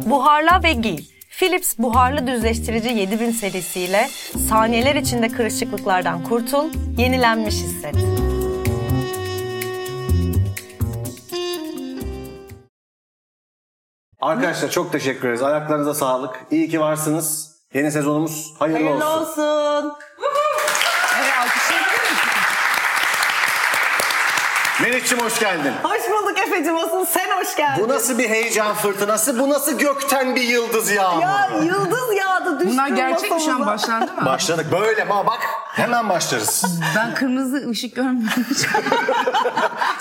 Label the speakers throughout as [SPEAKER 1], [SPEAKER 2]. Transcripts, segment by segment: [SPEAKER 1] Fırça ve giy. Philips buharlı düzleştirici 7000 serisiyle saniyeler içinde kırışıklıklardan kurtul, yenilenmiş hisset.
[SPEAKER 2] Arkadaşlar çok teşekkür ederiz. Ayaklarınıza sağlık. İyi ki varsınız. Yeni sezonumuz hayırlı,
[SPEAKER 3] Hayırlı
[SPEAKER 2] olsun.
[SPEAKER 3] olsun.
[SPEAKER 4] Evet alkışlayabilir miyiz?
[SPEAKER 2] Melih'ciğim hoş geldin.
[SPEAKER 3] Hoş bulduk Efe'cim olsun. Sen hoş geldin.
[SPEAKER 2] Bu nasıl bir heyecan fırtınası? Bu nasıl gökten bir yıldız yağmuru?
[SPEAKER 3] Ya yıldız yağdı düştü
[SPEAKER 4] Bunlar gerçek mi şu an
[SPEAKER 3] masamıza.
[SPEAKER 4] başlandı mı?
[SPEAKER 2] Başladık böyle ama bak hemen başlarız.
[SPEAKER 4] Ben kırmızı ışık görmüyorum.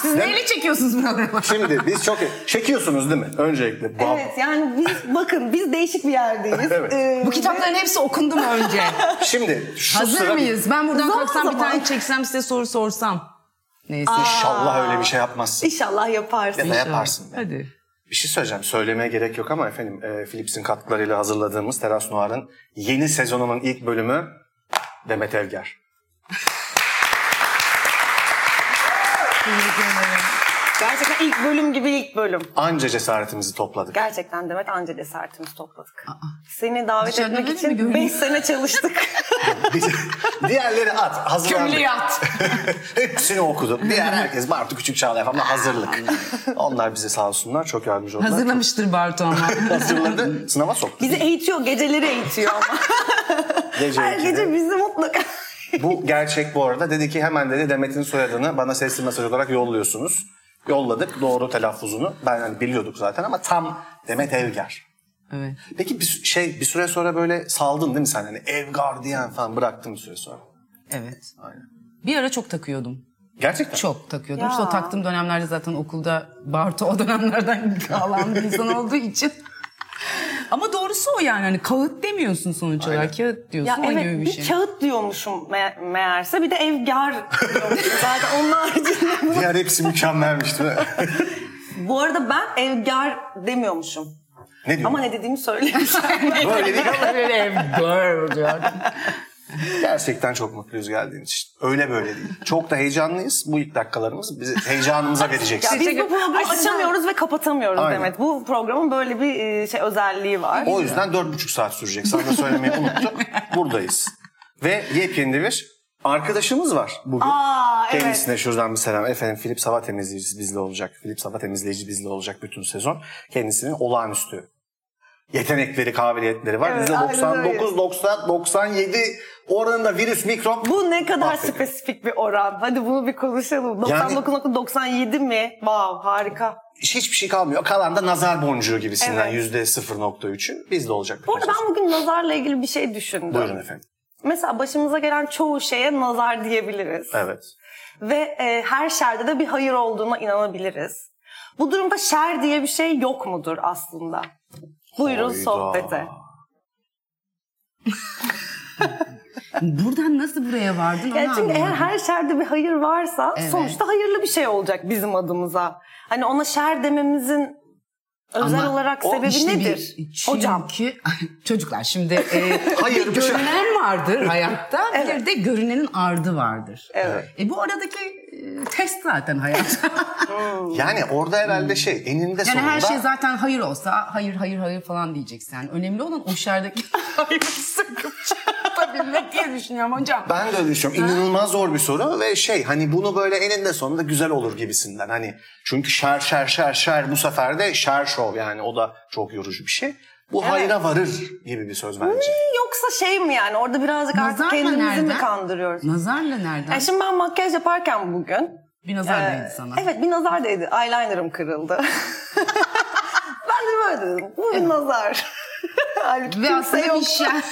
[SPEAKER 4] Siz neyle çekiyorsunuz bunları?
[SPEAKER 2] Şimdi biz çok çekiyorsunuz değil mi? Öncelikle. Bam.
[SPEAKER 3] Evet yani biz bakın biz değişik bir yerdeyiz.
[SPEAKER 2] Evet.
[SPEAKER 3] Ee,
[SPEAKER 4] Bu kitapların hepsi okundu mu önce?
[SPEAKER 2] Şimdi şu
[SPEAKER 4] Hazır
[SPEAKER 2] sıra
[SPEAKER 4] mıyız? Ben buradan
[SPEAKER 3] Zaman
[SPEAKER 4] kalksam bir
[SPEAKER 3] zaman.
[SPEAKER 4] tane çeksem size soru sorsam. Neyse.
[SPEAKER 2] İnşallah öyle bir şey yapmazsın.
[SPEAKER 3] İnşallah yaparsın.
[SPEAKER 2] Ya da yaparsın. be.
[SPEAKER 4] Hadi.
[SPEAKER 2] Bir şey söyleyeceğim. Söylemeye gerek yok ama efendim e, Philips'in katkılarıyla hazırladığımız Teras Noir'ın yeni sezonunun ilk bölümü Demet Evger.
[SPEAKER 3] Gerçekten ilk bölüm gibi ilk bölüm.
[SPEAKER 2] Anca cesaretimizi topladık.
[SPEAKER 3] Gerçekten Demet anca cesaretimizi topladık. Seni davet
[SPEAKER 4] Dışarıda
[SPEAKER 3] etmek
[SPEAKER 4] böyle mi görünüyor?
[SPEAKER 3] için 5 sene çalıştık.
[SPEAKER 2] Diğerleri at. Hazırlandık.
[SPEAKER 4] Kömürlü yat.
[SPEAKER 2] Hepsini okudum. Diğer herkes Bartu Küçük Çağlayan falan hazırlık. Onlar bize sağ olsunlar çok yardımcı oldular.
[SPEAKER 4] Hazırlamıştır Bartu ama.
[SPEAKER 2] Hazırladı. Sınava soktu.
[SPEAKER 3] Bizi eğitiyor, geceleri eğitiyor ama.
[SPEAKER 2] Gece
[SPEAKER 3] Her
[SPEAKER 2] ikide.
[SPEAKER 3] gece bizi mutlaka...
[SPEAKER 2] Bu gerçek bu arada. Dedi ki hemen dedi Demet'in soyadını bana sesli mesaj olarak yolluyorsunuz. Yolladık doğru telaffuzunu. Ben hani biliyorduk zaten ama tam Demet Evgar.
[SPEAKER 4] evet.
[SPEAKER 2] Peki bir sü- şey bir süre sonra böyle saldın değil mi sen? Hani Evgar diyen falan bıraktın bir süre sonra.
[SPEAKER 4] Evet.
[SPEAKER 2] Aynen.
[SPEAKER 4] Bir ara çok takıyordum.
[SPEAKER 2] Gerçekten.
[SPEAKER 4] Çok takıyordum.
[SPEAKER 3] Ya.
[SPEAKER 4] İşte o taktığım dönemlerde zaten okulda Bartu o dönemlerden kalan bir insan olduğu için. Ama doğrusu o yani. Hani kağıt demiyorsun sonuç olarak. Kağıt
[SPEAKER 3] Ya
[SPEAKER 4] diyorsun. o
[SPEAKER 3] evet
[SPEAKER 4] gibi
[SPEAKER 3] bir,
[SPEAKER 4] bir şey.
[SPEAKER 3] kağıt diyormuşum me- meğerse bir de evgar diyormuşum. Zaten onun haricinde bu-
[SPEAKER 2] Diğer hepsi mükemmelmiş değil mi?
[SPEAKER 3] Bu arada ben evgar demiyormuşum.
[SPEAKER 2] ne diyorsun?
[SPEAKER 3] Ama ne dediğimi söylemişim.
[SPEAKER 2] Böyle değil ama
[SPEAKER 4] Böyle evgar diyor.
[SPEAKER 2] gerçekten çok mutluyuz geldiğin için. Öyle böyle değil. Çok da heyecanlıyız. Bu ilk dakikalarımız bizi heyecanımıza vereceksin.
[SPEAKER 3] Ya biz
[SPEAKER 4] Teşekkür-
[SPEAKER 3] bu programı
[SPEAKER 4] Ay, siz-
[SPEAKER 3] açamıyoruz ve kapatamıyoruz
[SPEAKER 2] Aynen.
[SPEAKER 3] Demet. Bu programın böyle bir e, şey özelliği var.
[SPEAKER 2] O yüzden dört buçuk saat sürecek. Sana da söylemeyi unuttuk. Buradayız. Ve yepyeni bir arkadaşımız var bugün.
[SPEAKER 3] Aa, evet.
[SPEAKER 2] Kendisine şuradan bir selam. Efendim Philips Hava Temizleyicisi bizle olacak. Philips Hava Temizleyici bizle olacak bütün sezon. Kendisinin olağanüstü yetenekleri, kabiliyetleri var.
[SPEAKER 3] Evet,
[SPEAKER 2] Bizde
[SPEAKER 3] aynen
[SPEAKER 2] 99, 90, 97 oranında virüs, mikrop.
[SPEAKER 3] Bu ne kadar
[SPEAKER 2] Aferin.
[SPEAKER 3] spesifik bir oran. Hadi bunu bir konuşalım.
[SPEAKER 2] Yani-
[SPEAKER 3] 99.97 mi? Wow harika.
[SPEAKER 2] Hiçbir şey kalmıyor. Kalan da nazar boncuğu gibisinden
[SPEAKER 3] Evet.
[SPEAKER 2] yüzde %0.3'ü bizde olacak.
[SPEAKER 3] Bu arada ben bugün nazarla ilgili bir şey düşündüm.
[SPEAKER 2] Buyurun efendim.
[SPEAKER 3] Mesela başımıza gelen çoğu şeye nazar diyebiliriz.
[SPEAKER 2] Evet.
[SPEAKER 3] Ve e, her şerde de bir hayır olduğuna inanabiliriz. Bu durumda şer diye bir şey yok mudur aslında? Buyurun
[SPEAKER 2] Hayda.
[SPEAKER 3] sohbete.
[SPEAKER 4] Buradan nasıl buraya vardın?
[SPEAKER 3] Ya
[SPEAKER 4] onu
[SPEAKER 3] çünkü eğer
[SPEAKER 4] anlamadım.
[SPEAKER 3] her şerde bir hayır varsa
[SPEAKER 4] Evet.
[SPEAKER 3] sonuçta hayırlı bir şey olacak bizim adımıza. Hani ona şer dememizin özel
[SPEAKER 4] Ama
[SPEAKER 3] olarak
[SPEAKER 4] o
[SPEAKER 3] sebebi
[SPEAKER 4] işte bir-
[SPEAKER 3] nedir?
[SPEAKER 4] Çünkü
[SPEAKER 3] Hocam.
[SPEAKER 4] çocuklar şimdi e,
[SPEAKER 2] Hayır,
[SPEAKER 4] bir
[SPEAKER 2] bir şey-
[SPEAKER 4] görünen vardır hayatta bir de görünenin ardı vardır.
[SPEAKER 3] Evet.
[SPEAKER 4] E, bu aradaki e, test zaten hayat.
[SPEAKER 2] Yani orada herhalde şey eninde
[SPEAKER 4] Hmm. yani
[SPEAKER 2] sonunda
[SPEAKER 4] her şey zaten hayır olsa hayır hayır hayır falan diyeceksin. Yani önemli olan o şerdeki hayır sıkıp çıkartabilmek diye düşünüyorum hocam.
[SPEAKER 2] ben de öyle düşünüyorum. İnanılmaz zor bir soru ve şey hani bunu böyle eninde sonunda güzel olur gibisinden. Hani çünkü şer şer şer şer bu sefer de şer şov yani o da çok yorucu bir şey. Bu hayra varır gibi bir söz bence.
[SPEAKER 3] Yoksa şey mi yani orada birazcık
[SPEAKER 4] Nazar
[SPEAKER 3] artık
[SPEAKER 4] mı
[SPEAKER 3] kendimizi mi
[SPEAKER 4] nereden?
[SPEAKER 3] kandırıyoruz?
[SPEAKER 4] Nazarla nereden?
[SPEAKER 3] Yani şimdi ben makyaj yaparken bugün
[SPEAKER 4] bir nazar
[SPEAKER 3] Ee,
[SPEAKER 4] değdi sana.
[SPEAKER 3] Evet bir nazar değdi. Eyelinerım kırıldı. ben de böyle dedim. Bu bir nazar. Halbuki
[SPEAKER 4] Ve
[SPEAKER 3] kimse
[SPEAKER 4] aslında
[SPEAKER 3] yok.
[SPEAKER 4] bir şey- şer.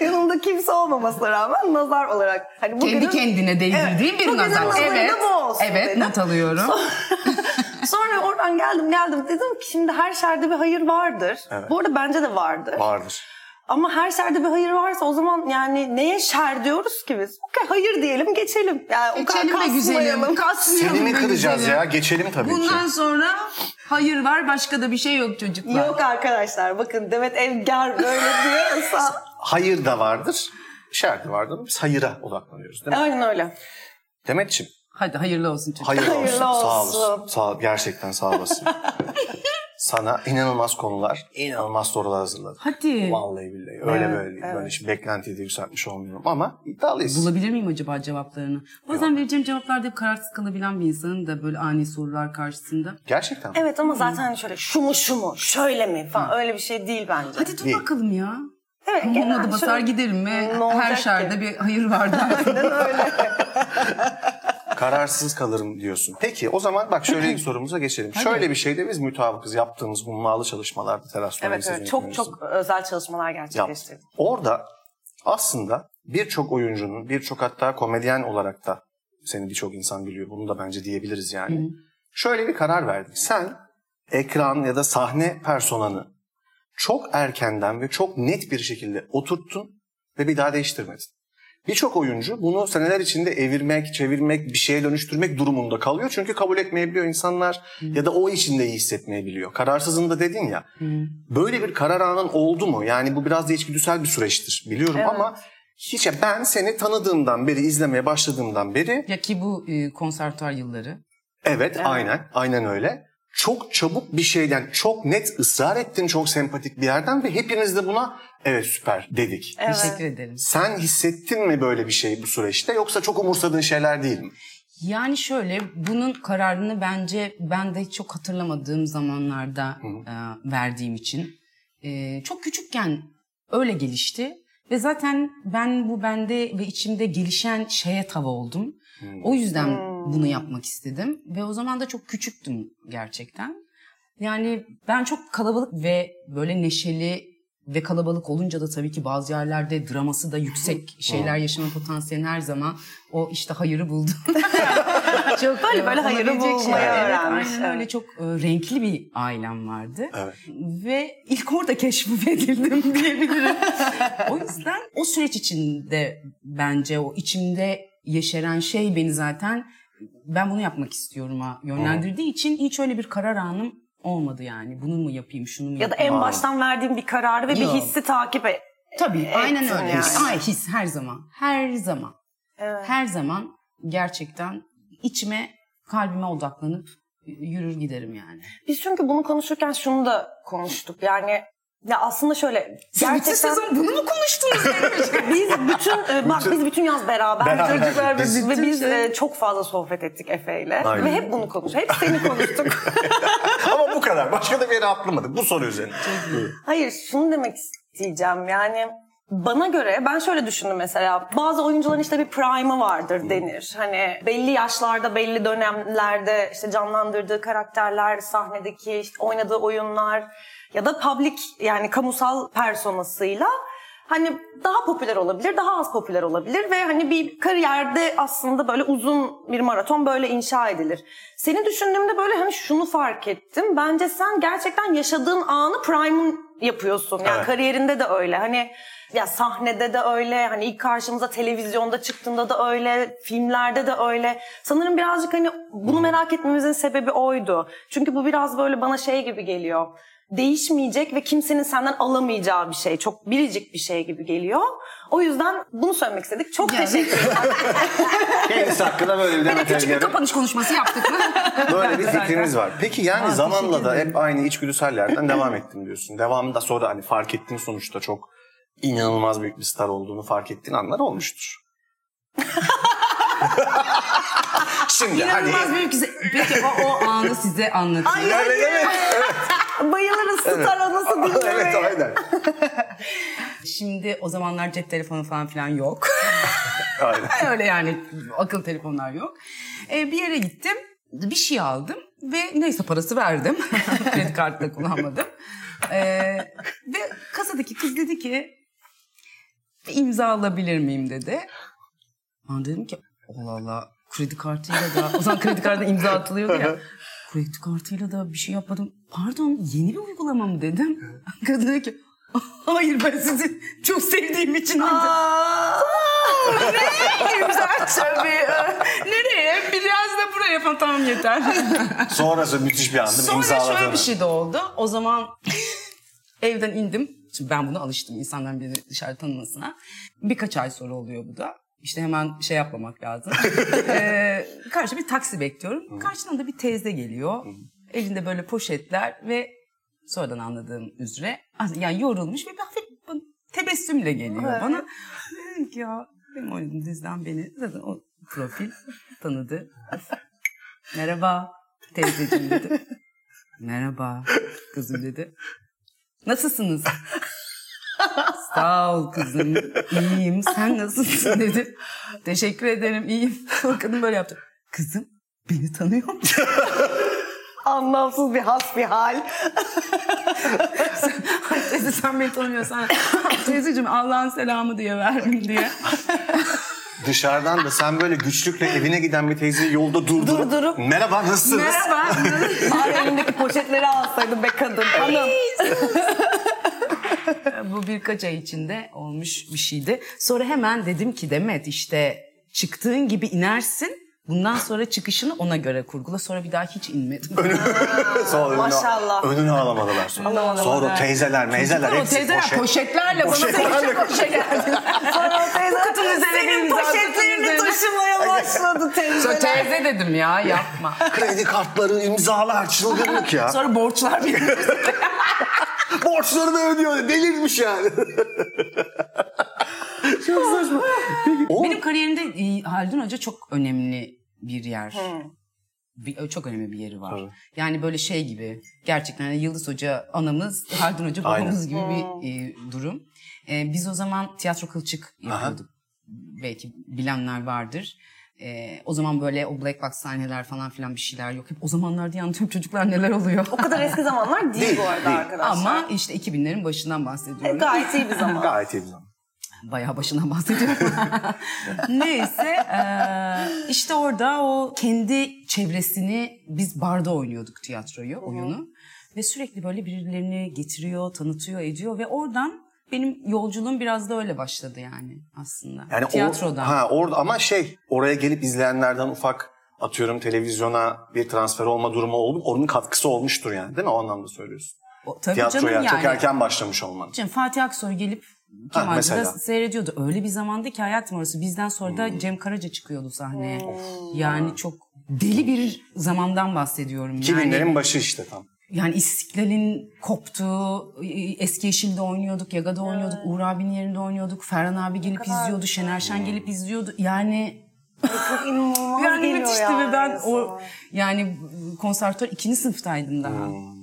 [SPEAKER 3] Yanımda kimse olmamasına rağmen nazar olarak. Hani
[SPEAKER 4] Kendi
[SPEAKER 3] bugünün-
[SPEAKER 4] kendine değdirdiğim
[SPEAKER 3] Evet,
[SPEAKER 4] bir
[SPEAKER 3] bugünün
[SPEAKER 4] nazar.
[SPEAKER 3] nazarı da
[SPEAKER 4] Evet.
[SPEAKER 3] bu olsun
[SPEAKER 4] evet,
[SPEAKER 3] dedim.
[SPEAKER 4] not alıyorum.
[SPEAKER 3] Sonra oradan geldim geldim dedim ki şimdi her şerde bir hayır vardır. Bu arada bence de vardır.
[SPEAKER 2] Vardır.
[SPEAKER 3] Ama her şerde bir hayır varsa o zaman yani neye şer diyoruz ki biz? Okey hayır diyelim geçelim. Yani o
[SPEAKER 4] Geçelim
[SPEAKER 3] kadar
[SPEAKER 4] be güzelim.
[SPEAKER 3] kasmayalım.
[SPEAKER 4] Kasmayalım
[SPEAKER 2] Seni mi
[SPEAKER 4] be
[SPEAKER 2] kıracağız
[SPEAKER 4] güzelim.
[SPEAKER 2] ya? Geçelim tabii
[SPEAKER 4] Bundan
[SPEAKER 2] ki.
[SPEAKER 4] sonra hayır var başka da bir şey yok çocuklar.
[SPEAKER 3] Yok arkadaşlar bakın Demet Evgar böyle diyorsa.
[SPEAKER 2] Hayır da vardır. Şer de vardır. Biz hayıra odaklanıyoruz değil mi?
[SPEAKER 3] Aynen öyle.
[SPEAKER 2] Demetçiğim
[SPEAKER 4] Hadi hayırlı olsun çocuklar.
[SPEAKER 2] hayır olsun.
[SPEAKER 3] Hayırlı
[SPEAKER 2] Sağ
[SPEAKER 3] olsun.
[SPEAKER 2] olasın. Sağ, gerçekten sağ olasın. sana inanılmaz konular, inanılmaz sorular hazırladım.
[SPEAKER 4] Hadi.
[SPEAKER 2] Vallahi billahi. Öyle böyle değil. Böyle şimdi beklentiyi de yükseltmiş olmuyorum ama iddialıyız.
[SPEAKER 4] Bulabilir miyim acaba cevaplarını? Bazen vereceğim cevaplarda hep kararsız kalabilen bir insanım da böyle ani sorular karşısında.
[SPEAKER 2] Gerçekten. mi?
[SPEAKER 3] Evet ama zaten hani şöyle şu mu şu mu şöyle mi falan öyle bir şey değil bence.
[SPEAKER 4] Hadi dur
[SPEAKER 2] Değil.
[SPEAKER 4] bakalım ya.
[SPEAKER 3] Evet, E, genel
[SPEAKER 4] Olmadı basar
[SPEAKER 3] şöyle-
[SPEAKER 4] giderim ve
[SPEAKER 3] Ne olacak
[SPEAKER 4] her
[SPEAKER 3] ki?
[SPEAKER 4] şerde bir hayır var dersin.
[SPEAKER 2] Kararsız kalırım diyorsun. Peki o zaman bak şöyle ilk sorumuza geçelim. Şöyle bir şeyde biz mütabıkız yaptığımız hummalı çalışmalarda teras
[SPEAKER 3] Evet evet çok çok özel çalışmalar gerçekleştirdik.
[SPEAKER 2] Yap. Orada aslında birçok oyuncunun, birçok hatta komedyen olarak da seni birçok insan biliyor. Bunu da bence diyebiliriz yani. Şöyle bir karar verdik. Sen ekran ya da sahne personanı çok erkenden ve çok net bir şekilde oturttun ve bir daha değiştirmedin. Birçok oyuncu bunu seneler içinde evirmek, çevirmek, bir şeye dönüştürmek durumunda kalıyor. Çünkü kabul etmeyebiliyor insanlar ya da o içinde iyi hissetmeyebiliyor. Kararsızın da dedin ya. Böyle bir karar anın oldu mu? Yani bu biraz da içgüdüsel bir süreçtir biliyorum ama hiç ya ben seni tanıdığımdan beri, izlemeye başladığımdan beri
[SPEAKER 4] ya ki bu e, konservatuar yılları.
[SPEAKER 2] Evet, aynen. Aynen öyle. Çok çabuk bir şeyden, çok net ısrar ettin çok sempatik bir yerden ve hepiniz de buna evet süper dedik.
[SPEAKER 4] Teşekkür ederim.
[SPEAKER 2] Sen hissettin mi böyle bir şey bu süreçte yoksa çok umursadığın şeyler değil mi?
[SPEAKER 4] Yani şöyle bunun kararını bence ben de hiç çok hatırlamadığım zamanlarda e, verdiğim için e, çok küçükken öyle gelişti ve zaten ben bu bende ve içimde gelişen şeye tava oldum. O yüzden bunu yapmak istedim ve o zaman da çok küçüktüm gerçekten. Yani ben çok kalabalık ve böyle neşeli ve kalabalık olunca da tabii ki bazı yerlerde draması da yüksek şeyler yaşama potansiyelin her zaman o işte hayırı buldu. çok
[SPEAKER 3] Böyle böyle
[SPEAKER 4] e,
[SPEAKER 3] hayırı
[SPEAKER 4] olabilecek
[SPEAKER 3] bulmayı
[SPEAKER 4] şeyler. Evet,
[SPEAKER 3] öğrenmiş,
[SPEAKER 4] aynen öyle
[SPEAKER 3] evet.
[SPEAKER 4] çok e, renkli bir ailem vardı.
[SPEAKER 2] Evet.
[SPEAKER 4] Ve ilk orada keşfedildim diyebilirim. o yüzden o süreç içinde bence o içimde yeşeren şey beni zaten ben bunu yapmak istiyorum'a yönlendirdiği için hiç öyle bir karar anım olmadı yani. Bunu mu yapayım, şunu mu
[SPEAKER 3] Ya da
[SPEAKER 4] yapayım?
[SPEAKER 3] en baştan verdiğim bir kararı ve bir
[SPEAKER 4] Yok.
[SPEAKER 3] hissi takip et.
[SPEAKER 4] Tabii aynen
[SPEAKER 3] etsin
[SPEAKER 4] öyle.
[SPEAKER 3] yani.
[SPEAKER 4] His. Ay his her zaman. Her zaman.
[SPEAKER 3] Evet.
[SPEAKER 4] Her zaman gerçekten içime, kalbime odaklanıp yürür giderim yani.
[SPEAKER 3] Biz çünkü bunu konuşurken şunu da konuştuk. Yani ya aslında şöyle gerçekten
[SPEAKER 4] bunu mu konuştunuz?
[SPEAKER 3] biz bütün e, bak biz bütün yaz beraber,
[SPEAKER 2] Beraber.
[SPEAKER 3] çocuklar ve
[SPEAKER 2] Biz-
[SPEAKER 3] biz, ve biz e, çok fazla sohbet ettik Efe'yle
[SPEAKER 2] Aynen.
[SPEAKER 3] ve hep bunu konuştuk. Hep seni konuştuk.
[SPEAKER 2] ama bu kadar. Başka da bir yere atlamadık. Bu soru üzerine.
[SPEAKER 3] Hayır şunu demek isteyeceğim yani bana göre ben şöyle düşündüm mesela bazı oyuncuların işte bir prime'ı vardır denir. Hani belli yaşlarda belli dönemlerde işte canlandırdığı karakterler, sahnedeki işte oynadığı oyunlar ya da public yani kamusal personasıyla hani daha popüler olabilir, daha az popüler olabilir ve hani bir kariyerde aslında böyle uzun bir maraton böyle inşa edilir. Seni düşündüğümde böyle hani şunu fark ettim. Bence sen gerçekten yaşadığın anı prime'ın yapıyorsun. Yani
[SPEAKER 2] Evet.
[SPEAKER 3] kariyerinde de öyle. Hani ya sahnede de öyle, hani ilk karşımıza televizyonda çıktığında da öyle, filmlerde de öyle. Sanırım birazcık hani bunu merak etmemizin sebebi oydu. Çünkü bu biraz böyle bana şey gibi geliyor. Değişmeyecek ve kimsenin senden alamayacağı bir şey. Çok biricik bir şey gibi geliyor. O yüzden bunu söylemek istedik. Çok
[SPEAKER 4] Yani.
[SPEAKER 3] teşekkür ederim.
[SPEAKER 2] Kendisi hakkında böyle bir
[SPEAKER 4] Böyle küçük bir
[SPEAKER 2] detaylı-
[SPEAKER 4] kapanış konuşması yaptık mı?
[SPEAKER 2] Böyle bir fikriniz var. Peki yani
[SPEAKER 4] Aa,
[SPEAKER 2] zamanla
[SPEAKER 4] teşekkür
[SPEAKER 2] da
[SPEAKER 4] ederim.
[SPEAKER 2] hep aynı içgüdüsellerden devam ettim diyorsun. Devamında sonra hani fark ettin sonuçta çok inanılmaz büyük bir star olduğunu fark ettiğin anlar olmuştur. Şimdi hani
[SPEAKER 4] İnanılmaz büyük güzel. Peki o, o anı size anlatayım.
[SPEAKER 2] yani evet,
[SPEAKER 3] Bayılırız star anası dinlemeye.
[SPEAKER 2] evet aynen.
[SPEAKER 4] Şimdi o zamanlar cep telefonu falan filan yok.
[SPEAKER 2] aynen.
[SPEAKER 4] Öyle yani akıl telefonlar yok. Ee, bir yere gittim. Bir şey aldım ve neyse parası verdim. Kredi kartı da kullanmadım. Ee, ve kasadaki kız dedi ki bir imza alabilir miyim dedi. Ben dedim ki Allah Allah kredi kartıyla da o zaman kredi kartına imza atılıyordu ya. Kredi kartıyla da bir şey yapmadım. Pardon yeni bir uygulama mı dedim. Kadın dedi ki hayır ben sizi çok sevdiğim için imza İmza tabii. Nereye? Biraz da buraya falan tamam yeter.
[SPEAKER 2] Sonrası müthiş bir anda bir
[SPEAKER 4] Sonra
[SPEAKER 2] imzaladın.
[SPEAKER 4] şöyle bir şey de oldu. O zaman evden indim. Şimdi ben buna alıştım insanların beni dışarı tanımasına. Birkaç ay sonra oluyor bu da. İşte hemen şey yapmamak lazım. ee, karşı bir taksi bekliyorum. Karşıdan da bir teyze geliyor. Elinde böyle poşetler ve Sonradan anladığım üzere. az- Yani yorulmuş ve bir hafif bu- tebessümle geliyor bana. Dedim ki ya benim oynadım diziden beni. Zaten o profil tanıdı. Merhaba teyzeciğim dedi. Merhaba kızım dedi. Nasılsınız? Sağ ol kızım. İyiyim. Sen nasılsın dedi. Teşekkür ederim. iyiyim. Kadın böyle yaptı. Kızım beni tanıyor musun?
[SPEAKER 3] Anlamsız bir has bir hal.
[SPEAKER 4] Ay teyze sen beni tanımıyorsan. Teyzeciğim Allah'ın selamı diye verdim diye.
[SPEAKER 2] Dışarıdan da sen böyle güçlükle evine giden bir teyzeyi yolda durdurup,
[SPEAKER 3] Durdurup,
[SPEAKER 2] merhaba nasılsınız?
[SPEAKER 4] Merhaba.
[SPEAKER 3] Bari elindeki poşetleri alsaydı be kadın. Hanım.
[SPEAKER 4] Bu birkaç ay içinde olmuş bir şeydi. Sonra hemen dedim ki Demet işte çıktığın gibi inersin. Bundan sonra çıkışını ona göre kurgula. Sonra bir daha hiç inmedim.
[SPEAKER 2] Sonra önünü-
[SPEAKER 3] Maşallah.
[SPEAKER 2] Önünü alamadılar sonra.
[SPEAKER 4] Alamadılar.
[SPEAKER 2] Sonra teyzeler, meyzeler
[SPEAKER 4] Sonra
[SPEAKER 2] hepsi
[SPEAKER 4] teyzeler
[SPEAKER 2] poşet.
[SPEAKER 4] poşetlerle bana
[SPEAKER 2] Poşetlerle
[SPEAKER 4] teyze poşe geldiler. Sonra teyze kutunun
[SPEAKER 3] Senin
[SPEAKER 4] bir imza, kutunun üzerine-
[SPEAKER 3] poşetlerini taşımaya başladı
[SPEAKER 4] Sonra
[SPEAKER 3] teyzeler.
[SPEAKER 4] teyze dedim ya yapma.
[SPEAKER 2] Kredi kartları, imzalar, çılgınlık ya.
[SPEAKER 4] Sonra borçlar bir
[SPEAKER 2] Borçlarını ödüyor. Delirmiş yani. Çok saçma. Peki, o-
[SPEAKER 4] Benim kariyerimde e, Haldun Hoca çok önemli bir yer. Bir- çok önemli bir yeri var.
[SPEAKER 2] Tabii.
[SPEAKER 4] Yani böyle şey gibi gerçekten yani Yıldız Hoca anamız, Haldun Hoca babamız gibi bir e, durum. E, biz o zaman tiyatro kılçık yapıyorduk. Belki bilenler vardır. E, o zaman böyle o black box sahneler falan filan bir şeyler yok. Hep o zamanlarda yani tüm çocuklar neler oluyor.
[SPEAKER 3] O kadar eski zamanlar değil,
[SPEAKER 2] Değil,
[SPEAKER 3] bu arada
[SPEAKER 2] değil.
[SPEAKER 3] arkadaşlar.
[SPEAKER 4] Ama işte 2000'lerin başından
[SPEAKER 3] E,
[SPEAKER 4] bahsediyorum.
[SPEAKER 3] gayet iyi bir zaman.
[SPEAKER 2] Gayet iyi bir zaman.
[SPEAKER 4] bayağı başından bahsediyorum. Neyse eee, işte orada o kendi çevresini biz barda oynuyorduk tiyatroyu, oyunu. Ve sürekli böyle birilerini getiriyor, tanıtıyor, ediyor ve oradan benim yolculuğum biraz da öyle başladı yani aslında.
[SPEAKER 2] Yani o-
[SPEAKER 4] Tiyatrodan.
[SPEAKER 2] ha orada ama şey oraya gelip izleyenlerden ufak atıyorum televizyona bir transfer olma durumu oldu. Onun katkısı olmuştur yani değil mi? O anlamda söylüyorsun.
[SPEAKER 4] O- tabii
[SPEAKER 2] Tiyatroya
[SPEAKER 4] canım
[SPEAKER 2] çok
[SPEAKER 4] yani.
[SPEAKER 2] erken başlamış olman.
[SPEAKER 4] Şimdi Fatih Aksoy gelip
[SPEAKER 2] Ha,
[SPEAKER 4] Kemal'de
[SPEAKER 2] mesela. Hmm.
[SPEAKER 4] seyrediyordu. Öyle bir zamandı ki hayatım orası. Bizden sonra da Cem Karaca çıkıyordu sahneye. Yani çok deli bir zamandan bahsediyorum. yani.
[SPEAKER 2] 2000'lerin başı işte tam.
[SPEAKER 4] Yani İstiklal'in koptuğu, eski Yeşil'de oynuyorduk, Yaga'da oynuyorduk, Uğur abinin yerinde oynuyorduk, Ferhan abi gelip izliyordu, Şener Şen gelip izliyordu. Yani
[SPEAKER 3] Çok inanılmaz
[SPEAKER 4] yani
[SPEAKER 3] geliyor
[SPEAKER 4] müthişti
[SPEAKER 3] yani
[SPEAKER 4] ve ben o
[SPEAKER 3] insana.
[SPEAKER 4] yani konservatuar ikinci sınıftaydım daha.
[SPEAKER 2] Hmm.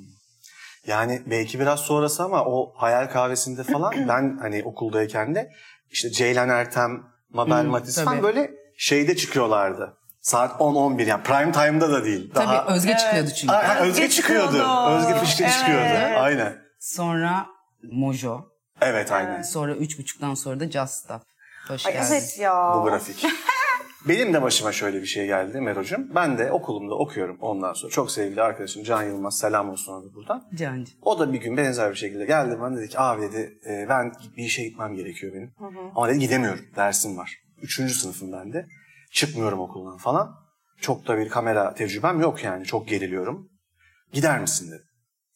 [SPEAKER 2] Yani belki biraz sonrası ama o hayal kahvesinde falan ben hani okuldayken de işte Ceylan Ertem, Mabel
[SPEAKER 4] Hmm,
[SPEAKER 2] Matiz
[SPEAKER 4] tabii.
[SPEAKER 2] falan böyle şeyde çıkıyorlardı. Saat 10-11 yani prime time'da da değil. Daha...
[SPEAKER 4] Tabii Özge çıkıyordu çünkü.
[SPEAKER 2] Aa, ha, Özge
[SPEAKER 3] Özge
[SPEAKER 2] çıkıyordu.
[SPEAKER 3] çıkıyordu.
[SPEAKER 2] Özge Fişkin
[SPEAKER 3] Evet.
[SPEAKER 2] çıkıyordu. Aynen.
[SPEAKER 4] Sonra Mojo,
[SPEAKER 2] Evet aynen.
[SPEAKER 4] sonra üç buçuktan sonra da Just Stop. Hoş
[SPEAKER 3] Ay
[SPEAKER 4] geldin.
[SPEAKER 3] evet ya.
[SPEAKER 2] bu grafik. Benim de başıma şöyle bir şey geldi Mero'cum. Ben de okulumda okuyorum ondan sonra. Çok sevgili arkadaşım Can Yılmaz selam olsun ona da buradan.
[SPEAKER 4] Cancı.
[SPEAKER 2] O da bir gün benzer bir şekilde geldi bana dedi ki abi dedi "e, ben bir işe gitmem gerekiyor benim. Ama dedi gidemiyorum dersim var. Üçüncü sınıfım ben de. Çıkmıyorum okuldan falan. Çok da bir kamera tecrübem yok yani çok geriliyorum. Gider misin dedi.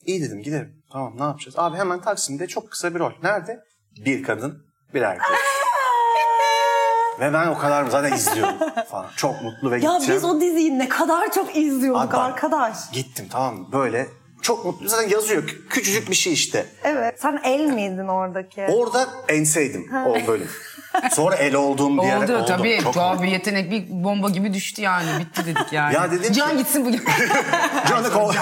[SPEAKER 2] İyi dedim giderim. Tamam ne yapacağız? Abi hemen Taksim'de çok kısa bir rol. Nerede? Bir kadın bir erkek. Ve ben o kadar zaten izliyorum falan. Çok mutlu ve
[SPEAKER 3] Ya
[SPEAKER 2] gideceğim.
[SPEAKER 3] biz o diziyi ne kadar çok izliyorduk
[SPEAKER 2] Abi bak,
[SPEAKER 3] arkadaş.
[SPEAKER 2] Gittim tamam mı? Böyle çok mutlu. Zaten yazıyor. kü- Küçücük bir şey işte.
[SPEAKER 3] Evet. Sen el miydin oradaki?
[SPEAKER 2] Orada enseydim o bölüm. Sonra el olduğum bir yer
[SPEAKER 4] Oldu,
[SPEAKER 2] oldu.
[SPEAKER 4] tabii.
[SPEAKER 2] Çok
[SPEAKER 4] Tuhaf
[SPEAKER 2] mutlu.
[SPEAKER 4] bir yetenek bir bomba gibi düştü yani. Bitti dedik yani.
[SPEAKER 2] Ya dedim ki-
[SPEAKER 4] Can gitsin bu
[SPEAKER 2] Canı kol-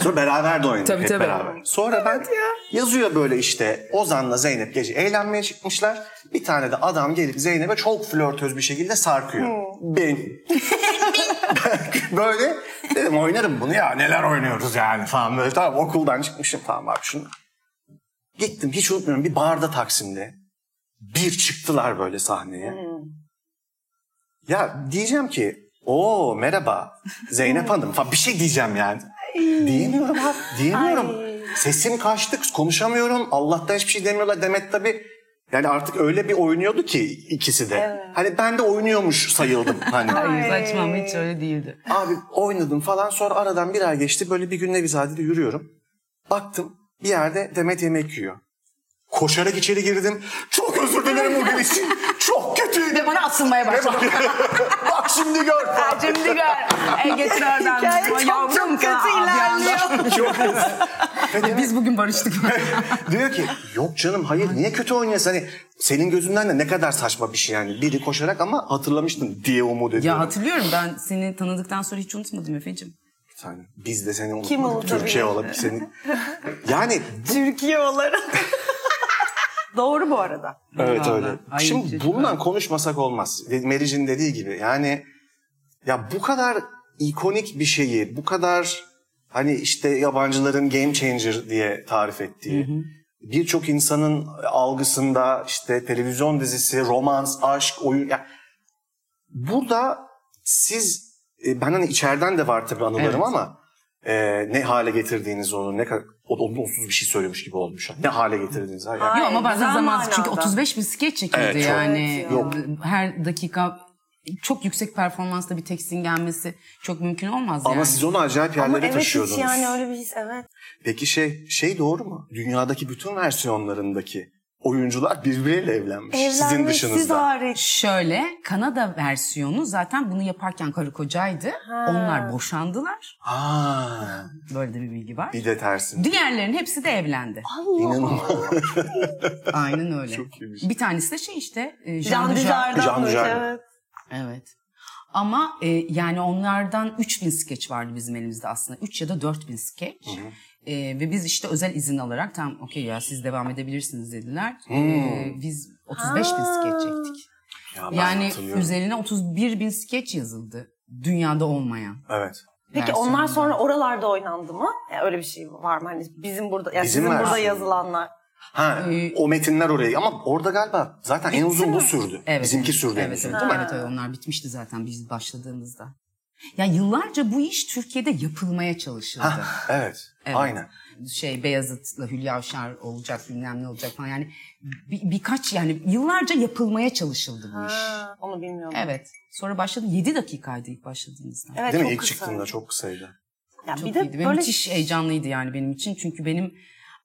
[SPEAKER 2] Sonra beraber de oynadık
[SPEAKER 4] Tabii,
[SPEAKER 2] hep
[SPEAKER 4] tabii.
[SPEAKER 2] beraber. Sonra ben yazıyor böyle işte Ozan'la Zeynep gece eğlenmeye çıkmışlar. Bir tane de adam gelip Zeynep'e çok flörtöz bir şekilde sarkıyor. Ben. böyle dedim oynarım bunu ya neler oynuyoruz yani falan böyle. Tamam okuldan çıkmışım tamam abi şunu. Gittim hiç unutmuyorum bir barda Taksim'de. Bir çıktılar böyle sahneye. Ya diyeceğim ki o merhaba Zeynep Hanım falan bir şey diyeceğim yani. Diyemiyorum abi diyemiyorum. Sesim kaçtı konuşamıyorum. Allah'tan hiçbir şey demiyorlar. Demet tabii yani artık öyle bir oynuyordu ki ikisi de. Hani ben de oynuyormuş sayıldım hani.
[SPEAKER 4] Hayır saçma ama hiç öyle değildi.
[SPEAKER 2] Abi oynadım falan sonra aradan bir ay geçti böyle bir gün Nevizade'de yürüyorum. Baktım bir yerde Demet yemek yiyor. Koşarak içeri girdim. Çok özür dilerim o gün için. Çok kötüydü.
[SPEAKER 4] Ve bana asılmaya başladı.
[SPEAKER 2] Bak şimdi gör. falan.
[SPEAKER 4] Şimdi gör. E getir oradan.
[SPEAKER 3] Hikaye çok
[SPEAKER 4] Yavrum
[SPEAKER 3] çok
[SPEAKER 4] sana
[SPEAKER 3] kötü
[SPEAKER 4] abi
[SPEAKER 3] ilerliyor.
[SPEAKER 4] yandı.
[SPEAKER 2] Çok
[SPEAKER 4] Biz bugün barıştık.
[SPEAKER 2] Diyor ki yok canım hayır niye kötü oynuyorsun hani senin gözünden de ne kadar saçma bir şey yani biri koşarak ama hatırlamıştın diye umut
[SPEAKER 4] ya
[SPEAKER 2] ediyorum.
[SPEAKER 4] hatırlıyorum ben seni tanıdıktan sonra hiç unutmadım Efe'cim.
[SPEAKER 2] Yani biz de seni
[SPEAKER 3] Kim
[SPEAKER 2] unutmadık
[SPEAKER 3] unutabilir?
[SPEAKER 2] Türkiye olabilir seni. Yani
[SPEAKER 3] Türkiye olarak. Doğru bu arada.
[SPEAKER 2] evet
[SPEAKER 4] Vallahi.
[SPEAKER 2] öyle.
[SPEAKER 4] Ay,
[SPEAKER 2] Şimdi
[SPEAKER 4] çocuklar.
[SPEAKER 2] bundan konuşmasak olmaz. Meriç'in dediği gibi yani ya bu kadar ikonik bir şeyi bu kadar hani işte yabancıların game changer diye tarif ettiği birçok insanın algısında işte televizyon dizisi, romans, aşk, oyun ya burada siz e, ben hani içeriden de var tabii anılarım
[SPEAKER 4] Evet.
[SPEAKER 2] ama e, ne hale getirdiğiniz onu ne kadar o da olumsuz bir şey söylemiş gibi olmuş. Ne hale getirdiniz her yani.
[SPEAKER 3] Ay,
[SPEAKER 4] Yok ama bazen
[SPEAKER 3] güzel
[SPEAKER 4] zamansız
[SPEAKER 3] manada.
[SPEAKER 4] çünkü 35 bin skeç çekildi
[SPEAKER 2] Evet, çok.
[SPEAKER 4] yani.
[SPEAKER 3] Evet
[SPEAKER 2] Yok.
[SPEAKER 4] Her dakika çok yüksek performansla bir teksin gelmesi çok mümkün olmaz yani.
[SPEAKER 2] Ama siz onu acayip yerlere
[SPEAKER 3] Ama evet
[SPEAKER 2] taşıyordunuz.
[SPEAKER 3] hiç yani öyle bir his evet.
[SPEAKER 2] Peki şey şey doğru mu? Dünyadaki bütün versiyonlarındaki oyuncular birbiriyle evlenmiş. sizin
[SPEAKER 3] Evlenmek
[SPEAKER 2] dışınızda.
[SPEAKER 3] siz hariç.
[SPEAKER 4] Şöyle Kanada versiyonu zaten bunu yaparken karı kocaydı. Onlar boşandılar.
[SPEAKER 2] Aa,
[SPEAKER 4] Böyle de bir bilgi var.
[SPEAKER 2] bir de tersin.
[SPEAKER 4] Diğerlerin hepsi de evlendi.
[SPEAKER 2] İnanılmaz.
[SPEAKER 4] Aynen öyle.
[SPEAKER 2] Çok iyiymiş.
[SPEAKER 4] bir tanesi de şey işte. e, Jean
[SPEAKER 3] Can
[SPEAKER 4] Dujardin.
[SPEAKER 3] Düzer'den
[SPEAKER 2] Can
[SPEAKER 3] böyle,
[SPEAKER 2] Düzer'den.
[SPEAKER 3] evet.
[SPEAKER 4] Evet. Ama e, yani onlardan 3000 skeç vardı bizim elimizde aslında. 3 ya da 4000 skeç. E, ve biz işte özel izin alarak tam okey ya siz devam edebilirsiniz dediler. E, biz 35 bin skeç çektik.
[SPEAKER 2] Ya Hmm. ben
[SPEAKER 4] Yani
[SPEAKER 2] hatırlıyorum.
[SPEAKER 4] üzerine 31 bin skeç yazıldı. Dünyada olmayan.
[SPEAKER 2] Evet.
[SPEAKER 3] Peki
[SPEAKER 4] versiyonunda.
[SPEAKER 3] onlar sonra oralarda oynandı mı? Yani öyle bir şey var mı? Hani bizim burada, yani
[SPEAKER 2] Bizim
[SPEAKER 3] sizin burada
[SPEAKER 2] versiyonu.
[SPEAKER 3] yazılanlar.
[SPEAKER 2] Ha,
[SPEAKER 4] Ee,
[SPEAKER 2] o metinler oraya ama orada galiba zaten en uzun bu sürdü.
[SPEAKER 4] Evet,
[SPEAKER 2] Bizimki
[SPEAKER 4] evet.
[SPEAKER 2] sürdü en
[SPEAKER 4] evet,
[SPEAKER 2] uzun,
[SPEAKER 4] evet,
[SPEAKER 2] değil mi?
[SPEAKER 4] evet, evet, onlar bitmişti zaten biz başladığımızda. Ya yıllarca bu iş Türkiye'de yapılmaya çalışıldı.
[SPEAKER 2] Ha, evet. Aynen.
[SPEAKER 4] şey Beyazıt'la Hülya Avşar olacak bilmem ne olacak falan yani bir- birkaç yani yıllarca yapılmaya çalışıldı bu iş.
[SPEAKER 3] Ha, onu bilmiyorum.
[SPEAKER 4] Evet. Sonra başladı 7 dakikaydı ilk başladığımızda.
[SPEAKER 3] Evet,
[SPEAKER 2] Değil mi?
[SPEAKER 3] çok
[SPEAKER 2] İlk
[SPEAKER 3] kısa.
[SPEAKER 2] çıktığında çok kısaydı.
[SPEAKER 3] Ya
[SPEAKER 4] Çok
[SPEAKER 3] bir de
[SPEAKER 4] iyiydi ve
[SPEAKER 3] böyle
[SPEAKER 4] müthiş heyecanlıydı yani benim için. Çünkü benim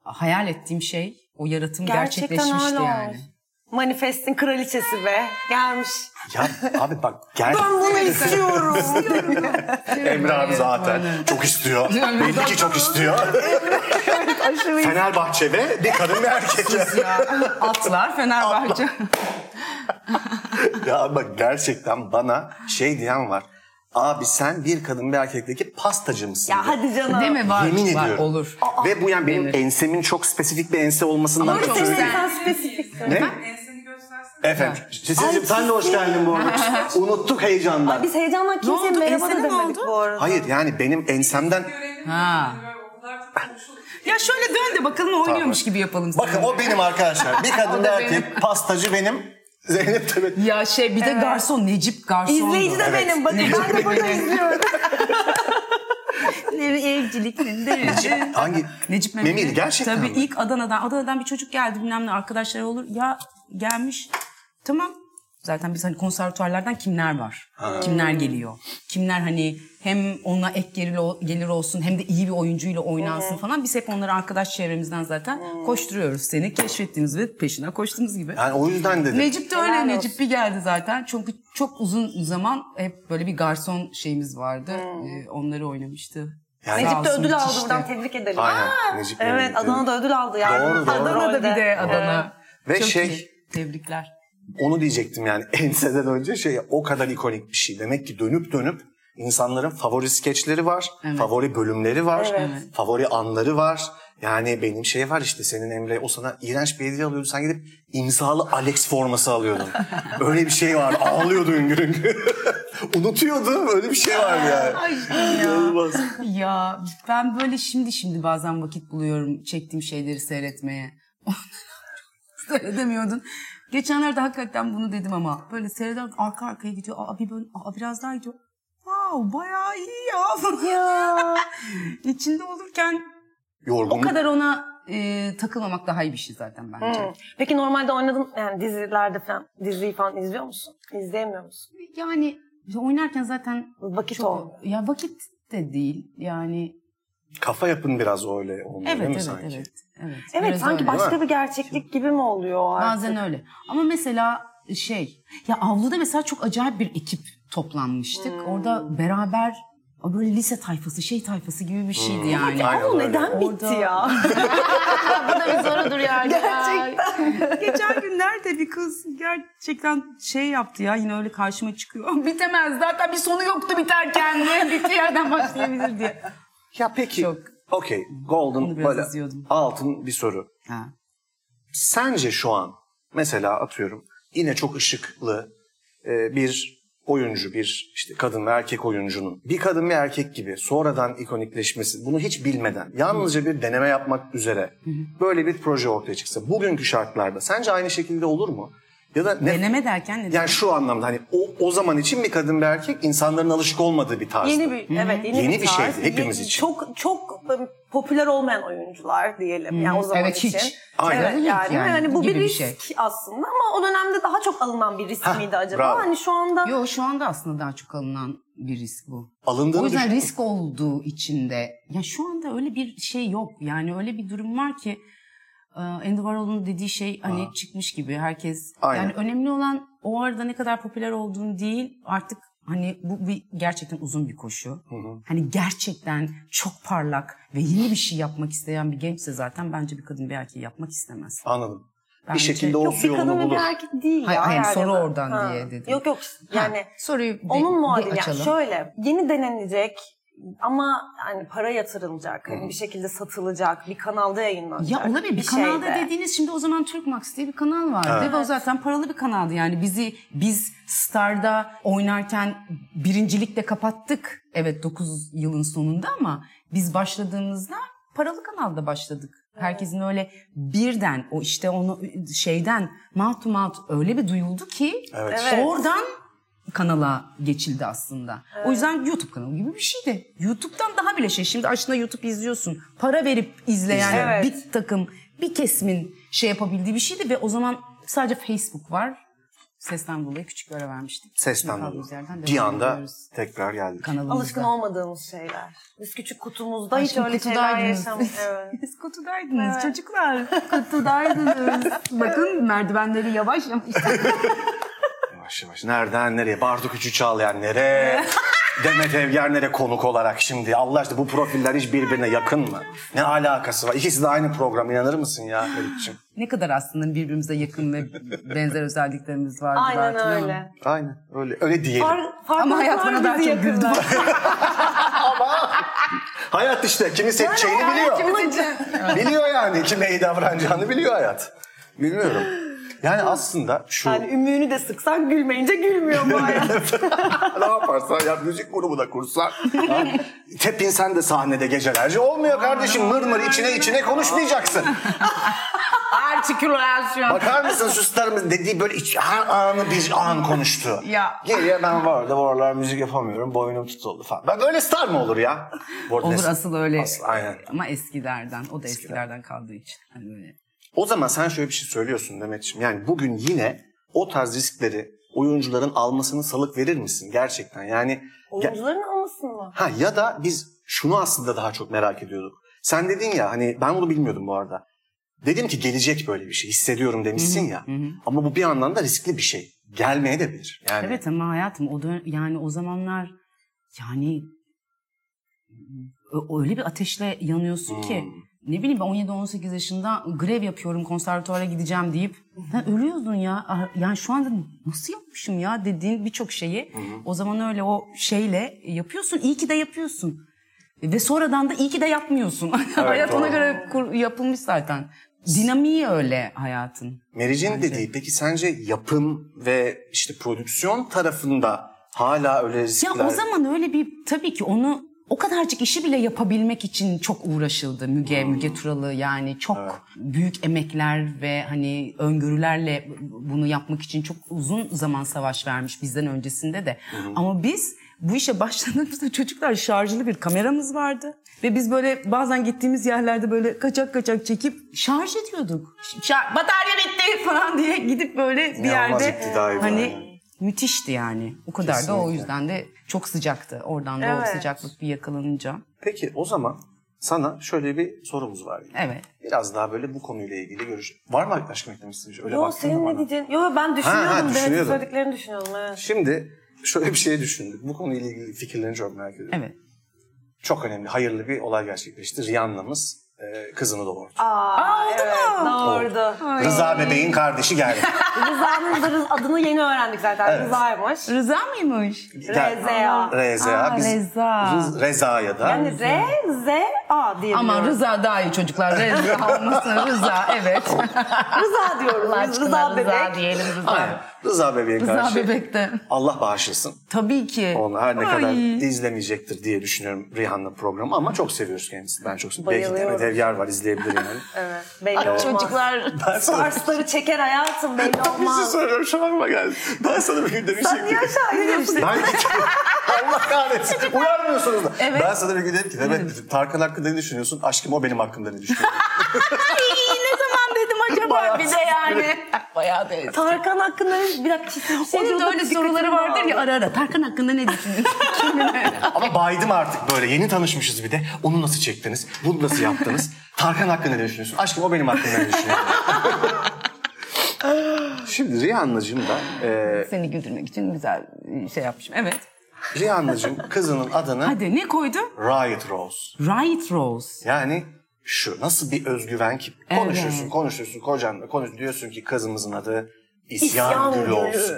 [SPEAKER 4] hayal ettiğim şey o yaratım
[SPEAKER 3] gerçekten
[SPEAKER 4] gerçekleşmişti
[SPEAKER 3] öyle
[SPEAKER 4] yani.
[SPEAKER 3] yani. Manifestin kraliçesi be. Gelmiş.
[SPEAKER 2] Ya abi bak gel.
[SPEAKER 3] Ben bunu istiyorum.
[SPEAKER 2] Emre abi zaten çok istiyor.
[SPEAKER 4] Yani
[SPEAKER 2] Belli ki çok istiyor.
[SPEAKER 3] Aşırı iyi.
[SPEAKER 2] Fenerbahçe'de bir kadın bir erkek.
[SPEAKER 4] Ya, atlar Fenerbahçe.
[SPEAKER 2] ya bak gerçekten bana şey diyen var. Abi sen bir kadın bir erkekteki pastacı mısın?
[SPEAKER 3] ya
[SPEAKER 2] diyor.
[SPEAKER 3] hadi canım.
[SPEAKER 4] Değil mi? Var,
[SPEAKER 2] Yemin
[SPEAKER 4] var,
[SPEAKER 2] ediyorum.
[SPEAKER 4] olur.
[SPEAKER 2] Ve bu yani benim
[SPEAKER 4] Denir.
[SPEAKER 2] ensemin çok spesifik bir ense olmasından
[SPEAKER 4] Ama çok
[SPEAKER 2] ötürü
[SPEAKER 3] Senin
[SPEAKER 4] güzel.
[SPEAKER 2] değil.
[SPEAKER 3] sen spesifiksin.
[SPEAKER 2] Ne? Efendim. Sizin sen de hoş geldin bu arada. Unuttuk heyecandan.
[SPEAKER 3] Ay biz heyecanla kimseye
[SPEAKER 4] oldu?
[SPEAKER 3] merhaba da
[SPEAKER 4] Ensene ne
[SPEAKER 3] demedik
[SPEAKER 4] oldu?
[SPEAKER 3] bu arada.
[SPEAKER 2] Hayır yani benim ensemden...
[SPEAKER 4] Ha. Ya şöyle dön de bakalım oynuyormuş gibi yapalım.
[SPEAKER 2] Bakın o benim arkadaşlar. Bir kadın bir
[SPEAKER 4] da
[SPEAKER 2] erkek pastacı benim. Zeynep tabii.
[SPEAKER 4] Ya şey bir de garson Necip garson.
[SPEAKER 3] İzleyici de benim. Bakın ben de burada izliyorum.
[SPEAKER 2] Necip, hangi?
[SPEAKER 4] Necip Memeli.
[SPEAKER 2] Memeli. gerçekten
[SPEAKER 4] Tabii
[SPEAKER 2] mi?
[SPEAKER 4] ilk Adana'dan. Adana'dan bir çocuk geldi bilmem ne arkadaşları olur. Ya gelmiş. Tamam. Zaten biz hani konservatuarlardan kimler var? Kimler geliyor? Kimler hani hem ona ek gelir, ol- gelir olsun hem de iyi bir oyuncuyla oynansın falan. Biz hep onları arkadaş çevremizden zaten koşturuyoruz seni. Keşfettiğimiz ve peşinden koştuğumuz gibi.
[SPEAKER 2] Yani o yüzden dedim.
[SPEAKER 4] Necip de öyle.
[SPEAKER 3] Helal olsun.
[SPEAKER 4] Necip bir geldi zaten. Çünkü çok uzun zaman hep böyle bir garson şeyimiz vardı. Ee, onları oynamıştı.
[SPEAKER 2] Yani-
[SPEAKER 4] Sağ
[SPEAKER 3] Hmm. Necip de
[SPEAKER 4] olsun,
[SPEAKER 3] ödül aldı
[SPEAKER 4] müthişti.
[SPEAKER 3] buradan tebrik edelim.
[SPEAKER 2] Aynen. Necip Memeli.
[SPEAKER 3] Evet Adana'da ödül aldı yani.
[SPEAKER 2] Doğru, doğru.
[SPEAKER 4] Adana'da bir de
[SPEAKER 3] Evet.
[SPEAKER 4] Adana.
[SPEAKER 2] Ve
[SPEAKER 4] Çok
[SPEAKER 2] şey-
[SPEAKER 4] iyi. Tebrikler.
[SPEAKER 2] onu diyecektim yani enseden önce şey o kadar ikonik bir şey. Demek ki dönüp dönüp insanların favori skeçleri var,
[SPEAKER 4] Evet.
[SPEAKER 2] favori bölümleri var,
[SPEAKER 3] Evet.
[SPEAKER 2] favori anları var. Yani benim şey var işte senin Emre o sana iğrenç bir hediye alıyordu sen gidip imzalı Alex forması alıyordun. öyle bir şey vardı ağlıyordu hüngür hüngür. Unutuyordum öyle bir şey vardı yani.
[SPEAKER 4] Ay işte ya.
[SPEAKER 2] İnanılmaz.
[SPEAKER 4] ya ben böyle şimdi şimdi bazen vakit buluyorum çektiğim şeyleri seyretmeye. Seyredemiyordun. Geçenlerde hakikaten bunu dedim ama böyle seyreden arka arkaya gidiyor. Aa bir bölüm, aa biraz daha gidiyor. Wow bayağı iyi ya. ya. İçinde olurken o
[SPEAKER 2] Yorgunluk.
[SPEAKER 4] kadar ona e, takılmamak daha iyi bir şey zaten bence.
[SPEAKER 3] Hı. Peki normalde oynadın yani dizilerde falan diziyi falan izliyor musun? İzleyemiyor musun?
[SPEAKER 4] Yani oynarken zaten
[SPEAKER 3] Vakit
[SPEAKER 4] çok
[SPEAKER 3] olmuyor.
[SPEAKER 4] ya vakit de değil yani
[SPEAKER 2] Kafa yapın biraz öyle olmuyor
[SPEAKER 4] Evet
[SPEAKER 2] değil mi
[SPEAKER 4] evet,
[SPEAKER 2] sanki?
[SPEAKER 4] evet evet.
[SPEAKER 3] Evet
[SPEAKER 4] Biraz
[SPEAKER 3] sanki
[SPEAKER 4] öyle.
[SPEAKER 2] Değil
[SPEAKER 3] başka
[SPEAKER 2] mi?
[SPEAKER 3] bir gerçeklik gibi mi oluyor artık?
[SPEAKER 4] Bazen öyle. Ama mesela şey, ya avluda mesela çok acayip bir ekip toplanmıştık. Orada beraber böyle lise tayfası, şey tayfası gibi bir şeydi yani.
[SPEAKER 2] Aynen
[SPEAKER 3] Ama
[SPEAKER 2] öyle.
[SPEAKER 3] neden bitti ya?
[SPEAKER 4] Bu da bir sorudur yani.
[SPEAKER 3] Gerçekten.
[SPEAKER 4] Geçen gün nerede bir kız gerçekten şey yaptı ya yine öyle karşıma çıkıyor. Bitemez zaten bir sonu yoktu biterken. Bittiği yerden başlayabilir diye.
[SPEAKER 2] Ya peki.
[SPEAKER 4] Çok.
[SPEAKER 2] Okey.
[SPEAKER 4] Onu
[SPEAKER 2] Golden
[SPEAKER 4] biraz
[SPEAKER 2] böyle
[SPEAKER 4] izliyordum.
[SPEAKER 2] altın bir soru.
[SPEAKER 4] Ha.
[SPEAKER 2] Sence şu an mesela atıyorum yine çok ışıklı e, bir oyuncu, bir işte kadın ve erkek oyuncunun bir kadın ve erkek gibi sonradan ikonikleşmesi bunu hiç bilmeden yalnızca bir deneme yapmak üzere böyle bir proje ortaya çıksa bugünkü şartlarda sence aynı şekilde olur mu? Ya da ne,
[SPEAKER 4] Deneme derken ne
[SPEAKER 2] yani
[SPEAKER 4] demek?
[SPEAKER 2] şu anlamda hani o, o zaman için bir kadın ve erkek insanların alışık olmadığı bir tarzda.
[SPEAKER 3] Yeni bir evet yeni,
[SPEAKER 2] Yeni bir
[SPEAKER 3] tarz.
[SPEAKER 2] şeydi hepimiz
[SPEAKER 3] Yeni-
[SPEAKER 2] için.
[SPEAKER 3] Çok çok e, popüler olmayan oyuncular diyelim yani o zaman
[SPEAKER 4] Evet, hiç.
[SPEAKER 3] için.
[SPEAKER 2] Aynen.
[SPEAKER 3] Evet, yani,
[SPEAKER 4] Yani
[SPEAKER 3] yani bu
[SPEAKER 4] gibi
[SPEAKER 3] bir
[SPEAKER 4] bir
[SPEAKER 3] risk
[SPEAKER 4] şey.
[SPEAKER 3] aslında ama o dönemde daha çok alınan bir risk
[SPEAKER 2] Hah,
[SPEAKER 3] miydi acaba?
[SPEAKER 2] bravo.
[SPEAKER 3] Hani şu anda
[SPEAKER 4] Yo şu anda aslında daha çok alınan bir risk bu.
[SPEAKER 2] Alındığını
[SPEAKER 4] o yüzden
[SPEAKER 2] düşündün mü?
[SPEAKER 4] risk olduğu içinde ya şu anda öyle bir şey yok. Yani öyle bir durum var ki e, Andy Warhol'un dediği şey hani çıkmış gibi herkes.
[SPEAKER 2] Aynen.
[SPEAKER 4] Yani önemli olan o arada ne kadar popüler olduğun değil artık hani bu bir gerçekten uzun bir koşu. Hani gerçekten çok parlak ve yeni bir şey yapmak isteyen bir gençse zaten bence bir kadın bir erkeği yapmak istemez.
[SPEAKER 2] Anladım. bir
[SPEAKER 4] Bence-
[SPEAKER 2] şekilde o
[SPEAKER 3] yok
[SPEAKER 2] su
[SPEAKER 3] bir
[SPEAKER 2] yolunu
[SPEAKER 3] kadın ve
[SPEAKER 2] bulur.
[SPEAKER 3] bir erkek değil
[SPEAKER 4] Hayır,
[SPEAKER 3] ya.
[SPEAKER 4] hayır,
[SPEAKER 3] yani.
[SPEAKER 4] soru oradan diye dedim.
[SPEAKER 3] Yok yok yani
[SPEAKER 4] Ha, soruyu bir-
[SPEAKER 3] onun
[SPEAKER 4] bir
[SPEAKER 3] muadili yani
[SPEAKER 4] açalım.
[SPEAKER 3] şöyle yeni denenecek ama yani para yatırılacak hani bir şekilde satılacak bir kanalda yayınlanacak. şey
[SPEAKER 4] Ya olabilir. Bir, kanalda
[SPEAKER 3] şeyde.
[SPEAKER 4] dediğiniz şimdi o zaman Türkmax diye bir kanal vardı ve o zaten paralı bir kanaldı. Yani bizi biz Star'da oynarken birincilikle kapattık. Evet 9 yılın sonunda ama biz başladığımızda paralı kanalda başladık. Herkesin öyle birden o işte onu şeyden mouth to mouth öyle bir duyuldu ki
[SPEAKER 2] Evet.
[SPEAKER 3] Evet.
[SPEAKER 4] oradan kanala geçildi aslında. O yüzden YouTube kanalı gibi bir şeydi. YouTube'dan daha bile şey. Şimdi aslında YouTube izliyorsun. Para verip izleyen
[SPEAKER 3] Evet.
[SPEAKER 4] bir takım bir kesimin şey yapabildiği bir şeydi ve o zaman sadece Facebook var. Sesten dolayı küçük bir ara vermiştik.
[SPEAKER 2] Sesten
[SPEAKER 4] Şimdi
[SPEAKER 2] dolayı.
[SPEAKER 4] kaldığımız yerden
[SPEAKER 2] Bir
[SPEAKER 4] devam
[SPEAKER 2] anda
[SPEAKER 4] ediyoruz
[SPEAKER 2] tekrar geldik.
[SPEAKER 4] kanalımızda.
[SPEAKER 3] Alışkın olmadığımız şeyler. Biz küçük kutumuzda hiç
[SPEAKER 4] Aşkım,
[SPEAKER 3] öyle şeyler
[SPEAKER 4] kutudaydınız.
[SPEAKER 3] yaşamadık. Evet.
[SPEAKER 4] Biz kutudaydınız çocuklar. Kutudaydınız. Bakın merdivenleri yavaş yavaş.
[SPEAKER 2] Yavaş yavaş. Nereden nereye? Bartu Küçük Çağlayan nereye? Demet Evgar nereye konuk olarak şimdi? Allah aşkına bu profiller hiç birbirine yakın mı? Ne alakası var? İkisi de aynı program. inanır mısın ya Elif'ciğim?
[SPEAKER 4] ne kadar aslında birbirimize yakın ve benzer özelliklerimiz vardı
[SPEAKER 3] Aynen
[SPEAKER 4] zaten ama-
[SPEAKER 3] öyle.
[SPEAKER 2] Aynen öyle. Öyle diyelim.
[SPEAKER 3] Far,
[SPEAKER 4] Ama hayat bana daha çok güldü.
[SPEAKER 2] hayat işte. Kimi seçeceğini biliyor. biliyor yani. Kime iyi davranacağını biliyor hayat. Bilmiyorum. Yani aslında şu...
[SPEAKER 3] Yani ümüğünü de sıksan gülmeyince gülmüyor bu hayat.
[SPEAKER 2] ne yaparsan yap müzik grubu da kursan. Ha? Tepin sen de sahnede gecelerce olmuyor kardeşim. Mır mır içine içine konuşmayacaksın.
[SPEAKER 4] Artikülasyon.
[SPEAKER 2] Bakar mısın şu starımız dediği böyle iç, her anı bir an konuştu.
[SPEAKER 4] Ya.
[SPEAKER 2] Geriye ben var da bu aralar müzik yapamıyorum. Boynum tutuldu falan. Ben böyle star mı olur ya? Bu arada
[SPEAKER 4] Olur
[SPEAKER 2] es-
[SPEAKER 4] asıl öyle.
[SPEAKER 2] Asıl, aynen.
[SPEAKER 4] Ama eskilerden. O da eskilerden kaldığı için. Hani böyle.
[SPEAKER 2] O zaman sen şöyle bir şey söylüyorsun Demetciğim. Yani bugün yine o tarz riskleri oyuncuların almasını salık verir misin gerçekten? Yani ya-
[SPEAKER 3] Oyuncuların almasın mı?
[SPEAKER 2] Ha ya da biz şunu aslında daha çok merak ediyorduk. Sen dedin ya hani ben bunu bilmiyordum bu arada. Dedim ki gelecek böyle bir şey hissediyorum demişsin ya. Ama bu bir anlamda riskli bir şey. Gelmeye de bilir. Yani
[SPEAKER 4] Evet ama hayatım o dön- yani o zamanlar yani ö- öyle bir ateşle yanıyorsun ki
[SPEAKER 2] Hmm.
[SPEAKER 4] ne bileyim ben 17-18 yaşında grev yapıyorum konservatuara gideceğim deyip sen ölüyordun ya. Ah, Yani şu anda nasıl yapmışım ya dediğin birçok şeyi o zaman öyle o şeyle yapıyorsun. İyi ki de yapıyorsun. Ve sonradan da iyi ki de yapmıyorsun. Hayat ona
[SPEAKER 2] doğru.
[SPEAKER 4] göre kur- yapılmış zaten. Dinamiği öyle hayatın.
[SPEAKER 2] Meric'in dediği peki sence yapım ve işte prodüksiyon tarafında hala öyle riskler...
[SPEAKER 4] Ya o zaman öyle bir tabii ki onu o kadarcık işi bile yapabilmek için çok uğraşıldı
[SPEAKER 2] Hmm.
[SPEAKER 4] Müge, Müge Turalı yani çok büyük emekler ve hani öngörülerle bu- bunu yapmak için çok uzun zaman savaş vermiş bizden öncesinde de. Ama biz bu işe başladığımızda çocuklar şarjlı bir kameramız vardı ve biz böyle bazen gittiğimiz yerlerde böyle kaçak kaçak çekip şarj ediyorduk. Şar- batarya bitti falan diye gidip böyle bir
[SPEAKER 2] İnanılmaz
[SPEAKER 4] yerde
[SPEAKER 2] iktidai bu
[SPEAKER 4] hani
[SPEAKER 2] yani.
[SPEAKER 4] müthişti yani. O kadar da o
[SPEAKER 2] Kesinlikle.
[SPEAKER 4] yüzden de çok sıcaktı. Oradan da o
[SPEAKER 3] Evet.
[SPEAKER 4] sıcaklık bir yakalanınca.
[SPEAKER 2] Peki o zaman Sana şöyle bir sorumuz var. yani.
[SPEAKER 4] Evet.
[SPEAKER 2] Biraz daha böyle bu konuyla ilgili görüş. Var mı arkadaş eklemek istediğin Öyle
[SPEAKER 3] Yo
[SPEAKER 2] baktın da
[SPEAKER 3] senin
[SPEAKER 2] bana.
[SPEAKER 3] ne diyeceğin? Yo ben düşünüyordum.
[SPEAKER 2] ha,
[SPEAKER 3] Ha,
[SPEAKER 2] düşünüyordum.
[SPEAKER 3] söylediklerini düşünüyordum. Evet.
[SPEAKER 2] Şimdi şöyle bir şey düşündük. Bu konuyla ilgili fikirlerini çok merak ediyorum.
[SPEAKER 4] Evet.
[SPEAKER 2] Çok önemli, hayırlı bir olay gerçekleşti. Rihanna'mız e, kızını doğurdu.
[SPEAKER 3] Aa, evet, Doğurdu.
[SPEAKER 2] Rıza bebeğin kardeşi geldi.
[SPEAKER 3] Rıza'nın da Rız- adını yeni öğrendik zaten. Rıza'ymış.
[SPEAKER 4] Rıza mıymış?
[SPEAKER 2] Gel-
[SPEAKER 3] Rezea.
[SPEAKER 2] Rezea.
[SPEAKER 4] Aa,
[SPEAKER 2] Biz
[SPEAKER 4] Reza.
[SPEAKER 2] Rız- Reza'ya da.
[SPEAKER 3] Yani R, Z, A diye
[SPEAKER 4] Ama Rıza daha iyi çocuklar. Rıza olmasın Rıza evet.
[SPEAKER 3] Rıza diyoruz.
[SPEAKER 4] Allah
[SPEAKER 3] Rıza,
[SPEAKER 4] aşkına Rıza,
[SPEAKER 3] bebek.
[SPEAKER 4] diyelim
[SPEAKER 2] Aynen.
[SPEAKER 4] Rıza.
[SPEAKER 2] Rıza bebeğin
[SPEAKER 4] Rıza
[SPEAKER 2] karşı.
[SPEAKER 4] bebek de.
[SPEAKER 2] Allah bağışlasın.
[SPEAKER 4] Tabii ki.
[SPEAKER 2] Onu her ne
[SPEAKER 4] Ay.
[SPEAKER 2] kadar izlemeyecektir diye düşünüyorum Rihanna programı ama çok seviyoruz kendisini. Ben çok seviyorum. Belki
[SPEAKER 3] Bayılıyorum.
[SPEAKER 2] Demet Evgar var izleyebilir yani.
[SPEAKER 3] Evet. Belli olmaz.
[SPEAKER 4] Çocuklar
[SPEAKER 2] Ben sana
[SPEAKER 3] Sarsları çeker hayatım belli
[SPEAKER 2] bir şey
[SPEAKER 3] olmaz.
[SPEAKER 2] söylüyorum şu aklıma geldi. Ben sana bir gün
[SPEAKER 3] Sen
[SPEAKER 2] demiştim ki.
[SPEAKER 3] niye aşağı iniyorsun?
[SPEAKER 2] Ben Allah kahretsin. Uyarmıyorsunuz da.
[SPEAKER 4] Evet.
[SPEAKER 2] Ben sana bir gün dedim ki Demet Tarkan hakkında ne düşünüyorsun? Aşkım o benim hakkında ne düşünüyor?
[SPEAKER 4] İyi, ne zaman dedim acaba bir de yani. Bayağı da eski.
[SPEAKER 3] Tarkan hakkında bir dakika çizim bir şey
[SPEAKER 4] Onun da
[SPEAKER 3] diyordum,
[SPEAKER 4] öyle
[SPEAKER 3] dikkatimi
[SPEAKER 4] soruları vardır ya
[SPEAKER 3] aldı.
[SPEAKER 4] ara ara. Tarkan hakkında ne düşünüyorsun?
[SPEAKER 2] Ama baydım artık böyle. Yeni tanışmışız bir de. Onu nasıl çektiniz? Bunu nasıl yaptınız? Tarkan hakkında ne düşünüyorsun? Aşkım o benim hakkımda ne düşünüyor? Şimdi Rihanna'cığım da e,
[SPEAKER 4] Seni güldürmek için güzel şey yapmışım. Evet.
[SPEAKER 2] Rihanna'cığım kızının adını
[SPEAKER 4] Hadi ne koydu?
[SPEAKER 2] Riot Rose.
[SPEAKER 4] Riot Rose.
[SPEAKER 2] Yani şu nasıl bir özgüven ki
[SPEAKER 4] Evet.
[SPEAKER 2] konuşuyorsun konuşuyorsun kocanla konuş diyorsun ki kızımızın adı İsyan,
[SPEAKER 3] İsyan
[SPEAKER 2] Gülü
[SPEAKER 3] Gülü.
[SPEAKER 2] olsun.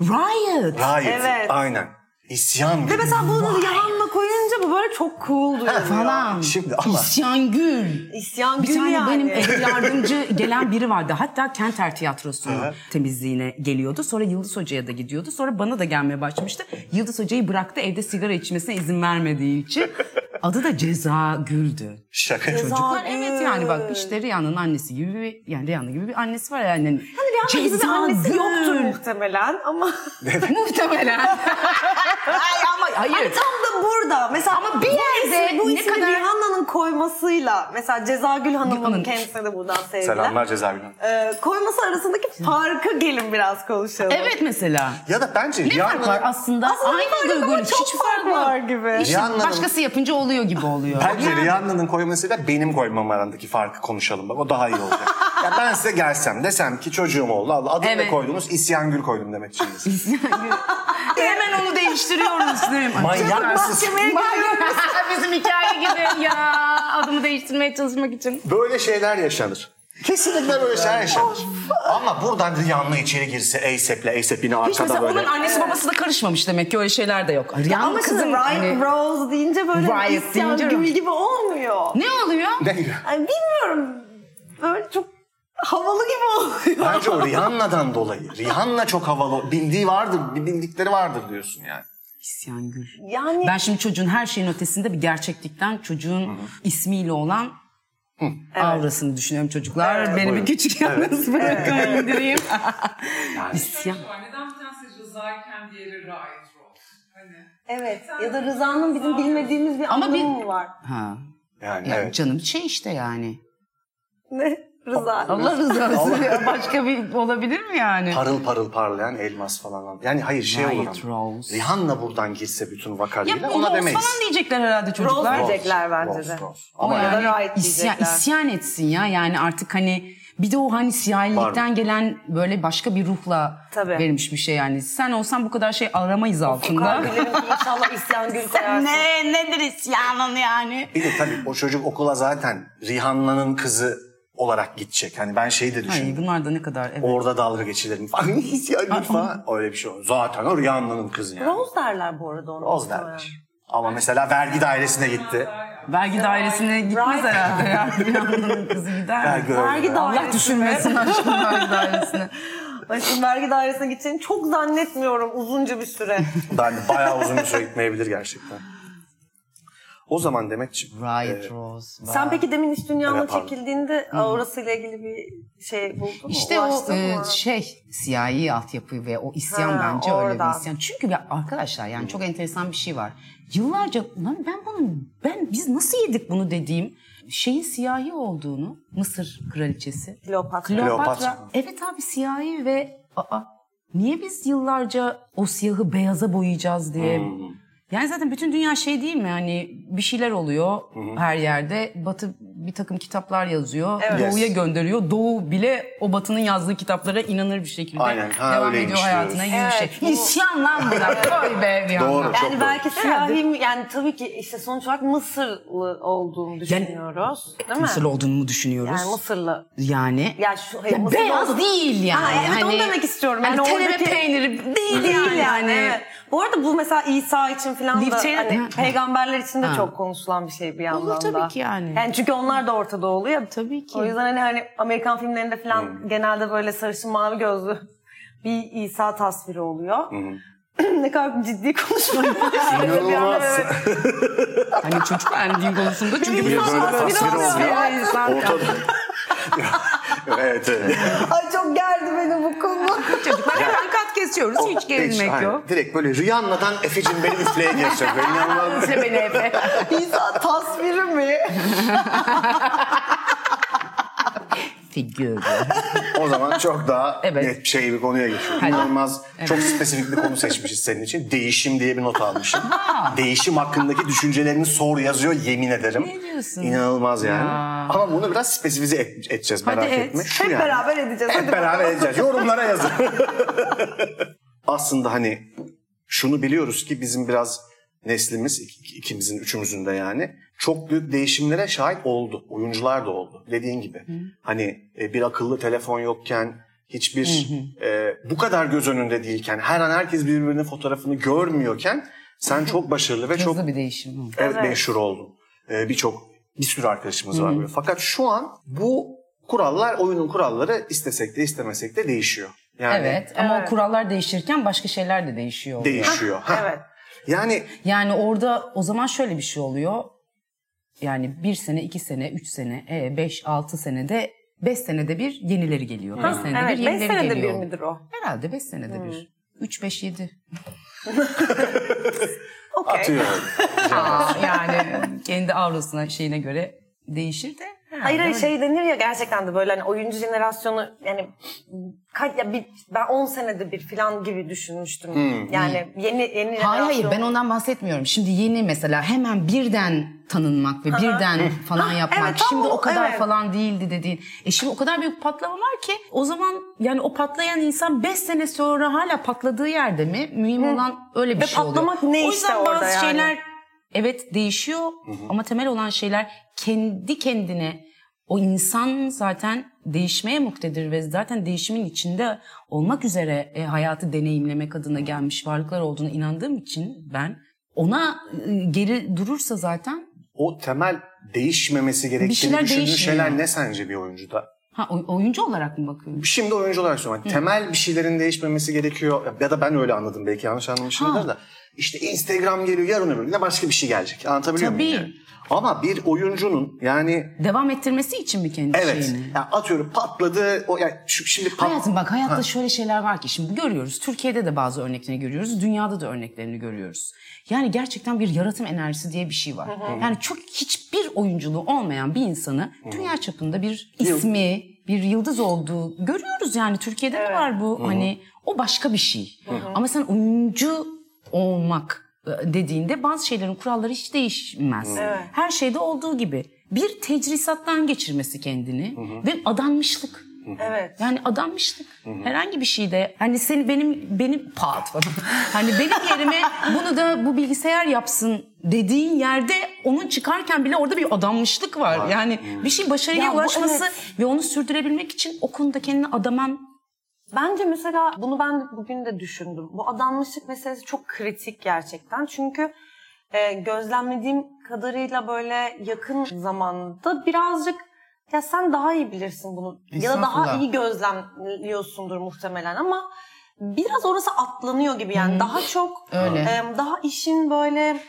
[SPEAKER 4] Riot.
[SPEAKER 2] Riot.
[SPEAKER 3] Evet.
[SPEAKER 2] Aynen. İsyan
[SPEAKER 3] Ve
[SPEAKER 2] Gülü.
[SPEAKER 3] mesela bunu Rihanna koyunca bu böyle çok cool duruyor.
[SPEAKER 4] Falan.
[SPEAKER 2] Şimdi ama
[SPEAKER 4] İsyan Gül.
[SPEAKER 3] İsyan
[SPEAKER 4] Bir
[SPEAKER 3] Gül
[SPEAKER 4] tane
[SPEAKER 3] yani.
[SPEAKER 4] benim ev yardımcı gelen biri vardı. Hatta Kenter Tiyatrosu'nun temizliğine geliyordu. Sonra Yıldız Hoca'ya da gidiyordu. Sonra bana da gelmeye başlamıştı. Yıldız Hoca'yı bıraktı evde sigara içmesine izin vermediği için. Adı da Ceza Gül'dü.
[SPEAKER 2] şaka çocuk.
[SPEAKER 4] Çocuklar evet yani bak işte Rihanna'nın annesi gibi bir yani Rihanna gibi bir annesi var yani. Hani
[SPEAKER 3] Rihanna gibi bir annesi yoktur muhtemelen ama
[SPEAKER 4] Muhtemelen. Ay ama hayır.
[SPEAKER 3] tam da burada. Mesela
[SPEAKER 4] Ama bir
[SPEAKER 3] bu
[SPEAKER 4] yerde
[SPEAKER 3] ismi- bu
[SPEAKER 4] ne
[SPEAKER 3] ismi
[SPEAKER 4] kadar-
[SPEAKER 3] Rihanna'nın koymasıyla mesela Cezagül Hanım'ın
[SPEAKER 4] Hanım.
[SPEAKER 3] kendisine de buradan sevgiler.
[SPEAKER 2] Selamlar Cezayir'den.
[SPEAKER 3] Ee, koyması arasındaki farkı gelin biraz konuşalım.
[SPEAKER 4] Evet mesela.
[SPEAKER 2] Ya da bence
[SPEAKER 4] Ne fark var
[SPEAKER 2] Rihanna'nın
[SPEAKER 4] aslında?
[SPEAKER 3] Aslında bir fark
[SPEAKER 4] Aynı
[SPEAKER 3] yok ama
[SPEAKER 4] duygu
[SPEAKER 3] çok
[SPEAKER 4] hiç
[SPEAKER 3] fark
[SPEAKER 4] fark
[SPEAKER 3] var
[SPEAKER 4] var
[SPEAKER 3] gibi.
[SPEAKER 4] İşte
[SPEAKER 2] Rihanna'nın-
[SPEAKER 4] başkası yapınca oluyor gibi oluyor.
[SPEAKER 2] Bence Rihanna'nın koymasıyla benim koymam arandaki farkı konuşalım bak o daha iyi olacak. ya ben size gelsem desem ki çocuğum oldu Allah adını ne
[SPEAKER 4] Evet.
[SPEAKER 2] koydunuz İsyan Gül koydum demek için.
[SPEAKER 4] Hemen onu değiştiriyoruz değil mi?
[SPEAKER 2] Manyak mısın?
[SPEAKER 3] Mahkemeye
[SPEAKER 4] Manyak. Bizim hikaye gibi ya. Adımı değiştirmeye çalışmak için.
[SPEAKER 2] Böyle şeyler yaşanır. Kesinlikle böyle şeyler yaşanır. Ama buradan Rihanna içeri girse ASAP'le ASAP yine
[SPEAKER 4] Hiç mesela
[SPEAKER 2] arkada böyle.
[SPEAKER 4] onun annesi babası da karışmamış demek ki öyle şeyler de yok.
[SPEAKER 3] Ya
[SPEAKER 4] Rihanna
[SPEAKER 3] ama şimdi
[SPEAKER 4] kızım
[SPEAKER 3] Riot
[SPEAKER 4] hani-
[SPEAKER 3] Rose deyince böyle
[SPEAKER 4] Riot
[SPEAKER 3] isyan
[SPEAKER 4] deyince-
[SPEAKER 3] gül gibi olmuyor.
[SPEAKER 4] Ne oluyor?
[SPEAKER 2] Ne?
[SPEAKER 3] Ay, bilmiyorum. Böyle çok havalı gibi oluyor.
[SPEAKER 2] Bence o Rihanna'dan dolayı. Rihanna çok havalı. Bildiği vardır, bir bildikleri vardır diyorsun yani.
[SPEAKER 4] İsyan Gül.
[SPEAKER 3] Yani
[SPEAKER 4] Ben şimdi çocuğun her şeyin ötesinde bir gerçeklikten çocuğun ismiyle olan avrasını düşünüyorum çocuklar. Beni
[SPEAKER 2] Buyurun.
[SPEAKER 4] bir küçük yalnız bırakın indireyim. İsyan.
[SPEAKER 5] var. Neden bir tanesi Rıza'yken diğeri Riot Rose? Hani
[SPEAKER 3] evet ya da Rıza'nın bizim bilmediğimiz bir
[SPEAKER 4] Ama
[SPEAKER 3] anlamı
[SPEAKER 4] bir-
[SPEAKER 3] mı var?
[SPEAKER 4] Ha.
[SPEAKER 2] Yani
[SPEAKER 4] Ya
[SPEAKER 2] evet.
[SPEAKER 4] canım şey işte yani.
[SPEAKER 3] Ne? Rıza.
[SPEAKER 4] Allah rızası ya. başka bir olabilir mi yani?
[SPEAKER 2] Parıl parıl parlayan elmas falan. Yani hayır şey
[SPEAKER 4] Riot
[SPEAKER 2] olur ama.
[SPEAKER 4] Rose.
[SPEAKER 2] Rihanna buradan girse bütün
[SPEAKER 4] Ya
[SPEAKER 2] vakarıyla
[SPEAKER 4] bu
[SPEAKER 2] ona
[SPEAKER 4] Rose
[SPEAKER 2] demeyiz.
[SPEAKER 4] falan diyecekler herhalde çocuklar.
[SPEAKER 3] Rose. diyecekler bence de.
[SPEAKER 4] O
[SPEAKER 2] Ama
[SPEAKER 3] yani-
[SPEAKER 2] yani,
[SPEAKER 3] Riot
[SPEAKER 4] isyan,
[SPEAKER 3] diyecekler.
[SPEAKER 4] isyan etsin ya yani artık hani bir de o hani
[SPEAKER 2] Var
[SPEAKER 4] siyahilikten gelen böyle başka bir ruhla
[SPEAKER 3] Tabii.
[SPEAKER 4] verilmiş bir şey yani. Sen olsan bu kadar şey aramayız altında.
[SPEAKER 3] Bilirim ki inşallah isyan gül koyarsın.
[SPEAKER 4] ne nedir isyanın yani?
[SPEAKER 2] bir de tabii o çocuk okula zaten Rihanna'nın kızı olarak gidecek. Hani ben şeyi de
[SPEAKER 4] Ay
[SPEAKER 2] düşündüm.
[SPEAKER 4] bunlar da ne kadar evet.
[SPEAKER 2] Orada dalga geçilir mi falan. İsyan falan. Öyle bir şey olur. Zaten o Rihanna'nın kızı yani.
[SPEAKER 3] Rose derler bu arada ona.
[SPEAKER 2] Oz derler. Ama mesela vergi dairesine gitti.
[SPEAKER 4] Vergi dairesine gitmez herhalde ya. Rihan'ın kızı gider.
[SPEAKER 2] Vergi,
[SPEAKER 3] Vergi
[SPEAKER 4] Allah
[SPEAKER 3] dairesi.
[SPEAKER 4] düşünmesin aşkım vergi dairesine.
[SPEAKER 3] Ay, şimdi vergi dairesine gideceğini çok zannetmiyorum uzunca bir süre.
[SPEAKER 2] Ben bayağı uzun bir süre gitmeyebilir gerçekten. O zaman Demetciğim.
[SPEAKER 4] Riot Rose.
[SPEAKER 3] Sen peki demin iş
[SPEAKER 2] Evet,
[SPEAKER 3] dünyama
[SPEAKER 2] pardon.
[SPEAKER 3] çekildiğinde orasıyla ilgili bir şey buldun mu?
[SPEAKER 4] İşte o
[SPEAKER 3] Ulaştın
[SPEAKER 4] e,
[SPEAKER 3] mı?
[SPEAKER 4] şey siyahi altyapı ve o isyan
[SPEAKER 3] Ha,
[SPEAKER 4] bence öyle
[SPEAKER 3] oradan.
[SPEAKER 4] bir isyan. Çünkü ya arkadaşlar yani çok enteresan bir şey var. Yıllarca lan ben bunun ben biz nasıl yedik bunu dediğim şeyin siyahi olduğunu Mısır kraliçesi.
[SPEAKER 3] Kleopatra.
[SPEAKER 2] Kleopatra.
[SPEAKER 4] Kleopatra. Evet abi siyahi ve aa niye biz yıllarca o siyahı beyaza boyayacağız diye Yani zaten bütün dünya şey değil mi? Yani bir şeyler oluyor her yerde. Batı bir takım kitaplar yazıyor. Doğu'ya
[SPEAKER 2] Yes.
[SPEAKER 4] gönderiyor. Doğu bile o Batı'nın yazdığı kitaplara inanır bir şekilde
[SPEAKER 2] Aynen, ha,
[SPEAKER 4] devam
[SPEAKER 2] öyleymiş
[SPEAKER 4] ediyor hayatına gibi bir şey.
[SPEAKER 3] Evet, bu-
[SPEAKER 4] İsyan lan bunlar. Oy be bir yandan.
[SPEAKER 2] Doğru. Çok
[SPEAKER 3] Yani belki
[SPEAKER 4] doğru.
[SPEAKER 3] siyahi mi- yani tabii ki işte sonuç olarak Mısırlı olduğunu düşünüyoruz. değil mi?
[SPEAKER 4] Mısırlı olduğunu düşünüyoruz.
[SPEAKER 3] Yani Mısırlı.
[SPEAKER 4] Yani.
[SPEAKER 3] Ya şu hayır,
[SPEAKER 4] Ya
[SPEAKER 3] Mısırlı
[SPEAKER 4] beyaz
[SPEAKER 3] olduğunu-
[SPEAKER 4] değil yani. hani
[SPEAKER 3] Ha, evet, onu demek istiyorum.
[SPEAKER 4] Yani
[SPEAKER 3] Yani
[SPEAKER 4] telere
[SPEAKER 3] oradaki-
[SPEAKER 4] peyniri değil
[SPEAKER 3] değil
[SPEAKER 4] yani.
[SPEAKER 3] yani. evet. Bu arada bu mesela İsa için falan da
[SPEAKER 4] Lifçeyle-
[SPEAKER 3] hani
[SPEAKER 4] Ha.
[SPEAKER 3] peygamberler için de
[SPEAKER 4] Ha.
[SPEAKER 3] çok konuşulan bir şey bir yandan
[SPEAKER 4] Olur tabii
[SPEAKER 3] da.
[SPEAKER 4] ki yani.
[SPEAKER 3] Yani çünkü onlar da ortada oluyor.
[SPEAKER 4] Tabii ki.
[SPEAKER 3] O yüzden hani, hani Amerikan filmlerinde falan genelde böyle sarışın mavi gözlü bir İsa tasviri oluyor. ne kadar ciddi konuşmadım.
[SPEAKER 2] İnanılmaz.
[SPEAKER 4] Hani çocuk erdiğin konusunda çünkü
[SPEAKER 2] Bir
[SPEAKER 4] biliyorsun.
[SPEAKER 2] böyle
[SPEAKER 3] tasviri
[SPEAKER 2] tasvir
[SPEAKER 3] oluyor.
[SPEAKER 2] oluyor.
[SPEAKER 4] Evet, zaten.
[SPEAKER 2] Ortada. evet evet.
[SPEAKER 3] Ay çok gerdi beni bu konu.
[SPEAKER 4] Çocuklar hemen kat kesiyoruz. Hiç
[SPEAKER 2] Hiç,
[SPEAKER 4] gerilmek
[SPEAKER 2] aynen.
[SPEAKER 4] yok.
[SPEAKER 2] Direkt böyle Rihanna'dan Efe'cim benim üfleye geçecek. Böyle inanılmaz.
[SPEAKER 4] Üfle beni Efe.
[SPEAKER 3] İsa tasviri mi?
[SPEAKER 4] Figür.
[SPEAKER 2] O zaman çok daha
[SPEAKER 4] Evet.
[SPEAKER 2] net bir şey bir konuya geçiyorum.
[SPEAKER 4] Hadi.
[SPEAKER 2] İnanılmaz çok spesifik bir konu seçmişiz senin için. Değişim diye bir not almışım. Değişim hakkındaki düşüncelerini sor yazıyor yemin ederim.
[SPEAKER 4] Ne diyorsun?
[SPEAKER 2] İnanılmaz yani.
[SPEAKER 4] Ya.
[SPEAKER 2] Ama bunu biraz spesifize et- edeceğiz merak
[SPEAKER 4] Hadi et.
[SPEAKER 2] etme. Şu
[SPEAKER 3] Hep
[SPEAKER 2] yani.
[SPEAKER 3] beraber edeceğiz.
[SPEAKER 2] Hep beraber edeceğiz. Yorumlara yazın. Aslında hani şunu biliyoruz ki bizim biraz neslimiz ik- ik- ikimizin üçümüzün de yani çok büyük değişimlere şahit oldu. Oyuncular da oldu. Dediğin gibi. Hani e, bir akıllı telefon yokken hiçbir e, bu kadar göz önünde değilken her an herkes birbirinin fotoğrafını görmüyorken sen çok başarılı ve çok
[SPEAKER 4] Hızlı bir değişim. Hı.
[SPEAKER 2] Evet, meşhur oldum. Ee, Birçok bir sürü arkadaşımız var böyle. Fakat şu an bu kurallar oyunun kuralları istesek de istemesek de değişiyor. Yani
[SPEAKER 4] Evet ama o kurallar değişirken başka şeyler de değişiyor. oluyor.
[SPEAKER 2] değişiyor. Ha.
[SPEAKER 3] Evet.
[SPEAKER 2] Yani
[SPEAKER 4] Yani orada o zaman şöyle bir şey oluyor. Yani bir sene, iki sene, üç sene, e, beş, altı senede, beş senede bir yenileri geliyor. Beş senede
[SPEAKER 3] Evet,
[SPEAKER 4] bir
[SPEAKER 3] 5
[SPEAKER 4] yenileri
[SPEAKER 3] senede bir
[SPEAKER 4] geliyor.
[SPEAKER 3] midir o?
[SPEAKER 4] Herhalde beş senede bir. Üç, beş, yedi.
[SPEAKER 3] Okey.
[SPEAKER 2] atıyorum.
[SPEAKER 4] yani kendi avrosuna şeyine göre değişir de. herhalde
[SPEAKER 3] Hayır hayır
[SPEAKER 4] öyle.
[SPEAKER 3] şey denir ya gerçekten de böyle hani oyuncu jenerasyonu yani kaç ya bir, ben 10 senede bir falan gibi düşünmüştüm. Yani yeni yeni
[SPEAKER 4] Hayır hayır
[SPEAKER 3] jenerasyon-
[SPEAKER 4] ben ondan bahsetmiyorum. Şimdi yeni mesela hemen birden tanınmak ve birden falan yapmak.
[SPEAKER 3] Ah, evet, tam
[SPEAKER 4] şimdi
[SPEAKER 3] o-
[SPEAKER 4] o kadar
[SPEAKER 3] evet.
[SPEAKER 4] falan değildi dediğin. E şimdi o kadar büyük patlama var ki o zaman yani o patlayan insan 5 sene sonra hala patladığı yerde mi? Mühim olan öyle bir
[SPEAKER 3] Ve
[SPEAKER 4] şey oluyor.
[SPEAKER 3] patlamak ne
[SPEAKER 4] o
[SPEAKER 3] işte
[SPEAKER 4] yüzden
[SPEAKER 3] orada
[SPEAKER 4] bazı
[SPEAKER 3] yani.
[SPEAKER 4] şeyler evet değişiyor ama temel olan şeyler kendi kendine o insan zaten değişmeye muktedir ve zaten değişimin içinde olmak üzere e, hayatı deneyimlemek adına gelmiş varlıklar olduğuna inandığım için ben ona e, geri durursa zaten
[SPEAKER 2] O temel değişmemesi
[SPEAKER 4] Bir
[SPEAKER 2] gerektiğini
[SPEAKER 4] şeyler
[SPEAKER 2] düşündüğün
[SPEAKER 4] değişmiyor.
[SPEAKER 2] şeyler ne sence bir oyuncuda?
[SPEAKER 4] ha oy- oyuncu olarak mı bakıyorum?
[SPEAKER 2] Şimdi oyuncu olarak söylüyorum. Hani Temel bir şeylerin değişmemesi gerekiyor. Ya da ben öyle anladım belki yanlış anlamışımdır
[SPEAKER 4] Ha.
[SPEAKER 2] da. İşte Instagram geliyor yarın öbür gün de başka bir şey gelecek. Anlatabiliyor muyum?
[SPEAKER 4] Tabii.
[SPEAKER 2] yani? Ama bir oyuncunun yani
[SPEAKER 4] Devam ettirmesi için mi kendi
[SPEAKER 2] Evet.
[SPEAKER 4] şeyini?
[SPEAKER 2] Yani atıyorum patladı. O yani şu, şimdi pat...
[SPEAKER 4] Hayatım bak hayatta şöyle şeyler var ki şimdi görüyoruz. Türkiye'de de bazı örneklerini görüyoruz. Dünyada da örneklerini görüyoruz. Yani gerçekten bir yaratım enerjisi diye bir şey var. Yani çok hiçbir oyunculuğu olmayan bir insanı dünya çapında bir ismi, bir yıldız olduğu görüyoruz yani. Türkiye'de de var bu hani o başka bir şey. Ama sen oyuncu olmak e, dediğinde bazı şeylerin kuralları hiç değişmez. Her şeyde olduğu gibi bir tecrisattan geçirmesi kendini ve adanmışlık.
[SPEAKER 3] Evet.
[SPEAKER 4] Yani adanmıştık. Herhangi bir şeyde hani seni benim benim pat falan. hani benim yerime bunu da bu bilgisayar yapsın dediğin yerde onun çıkarken bile orada bir adanmışlık var. Yani bir şey başarıya
[SPEAKER 3] Ya bu
[SPEAKER 4] ulaşması ve onu sürdürebilmek için o konuda kendini adaman
[SPEAKER 3] Bence mesela bunu ben bugün de düşündüm. Bu adanmışlık meselesi çok kritik gerçekten. Çünkü e, gözlemlediğim kadarıyla böyle yakın zamanda birazcık ya sen daha iyi bilirsin bunu ya da daha
[SPEAKER 4] Estağfurullah.
[SPEAKER 3] iyi gözlemliyorsundur muhtemelen ama biraz orası atlanıyor gibi yani daha çok
[SPEAKER 4] Öyle.
[SPEAKER 3] e, daha işin böyle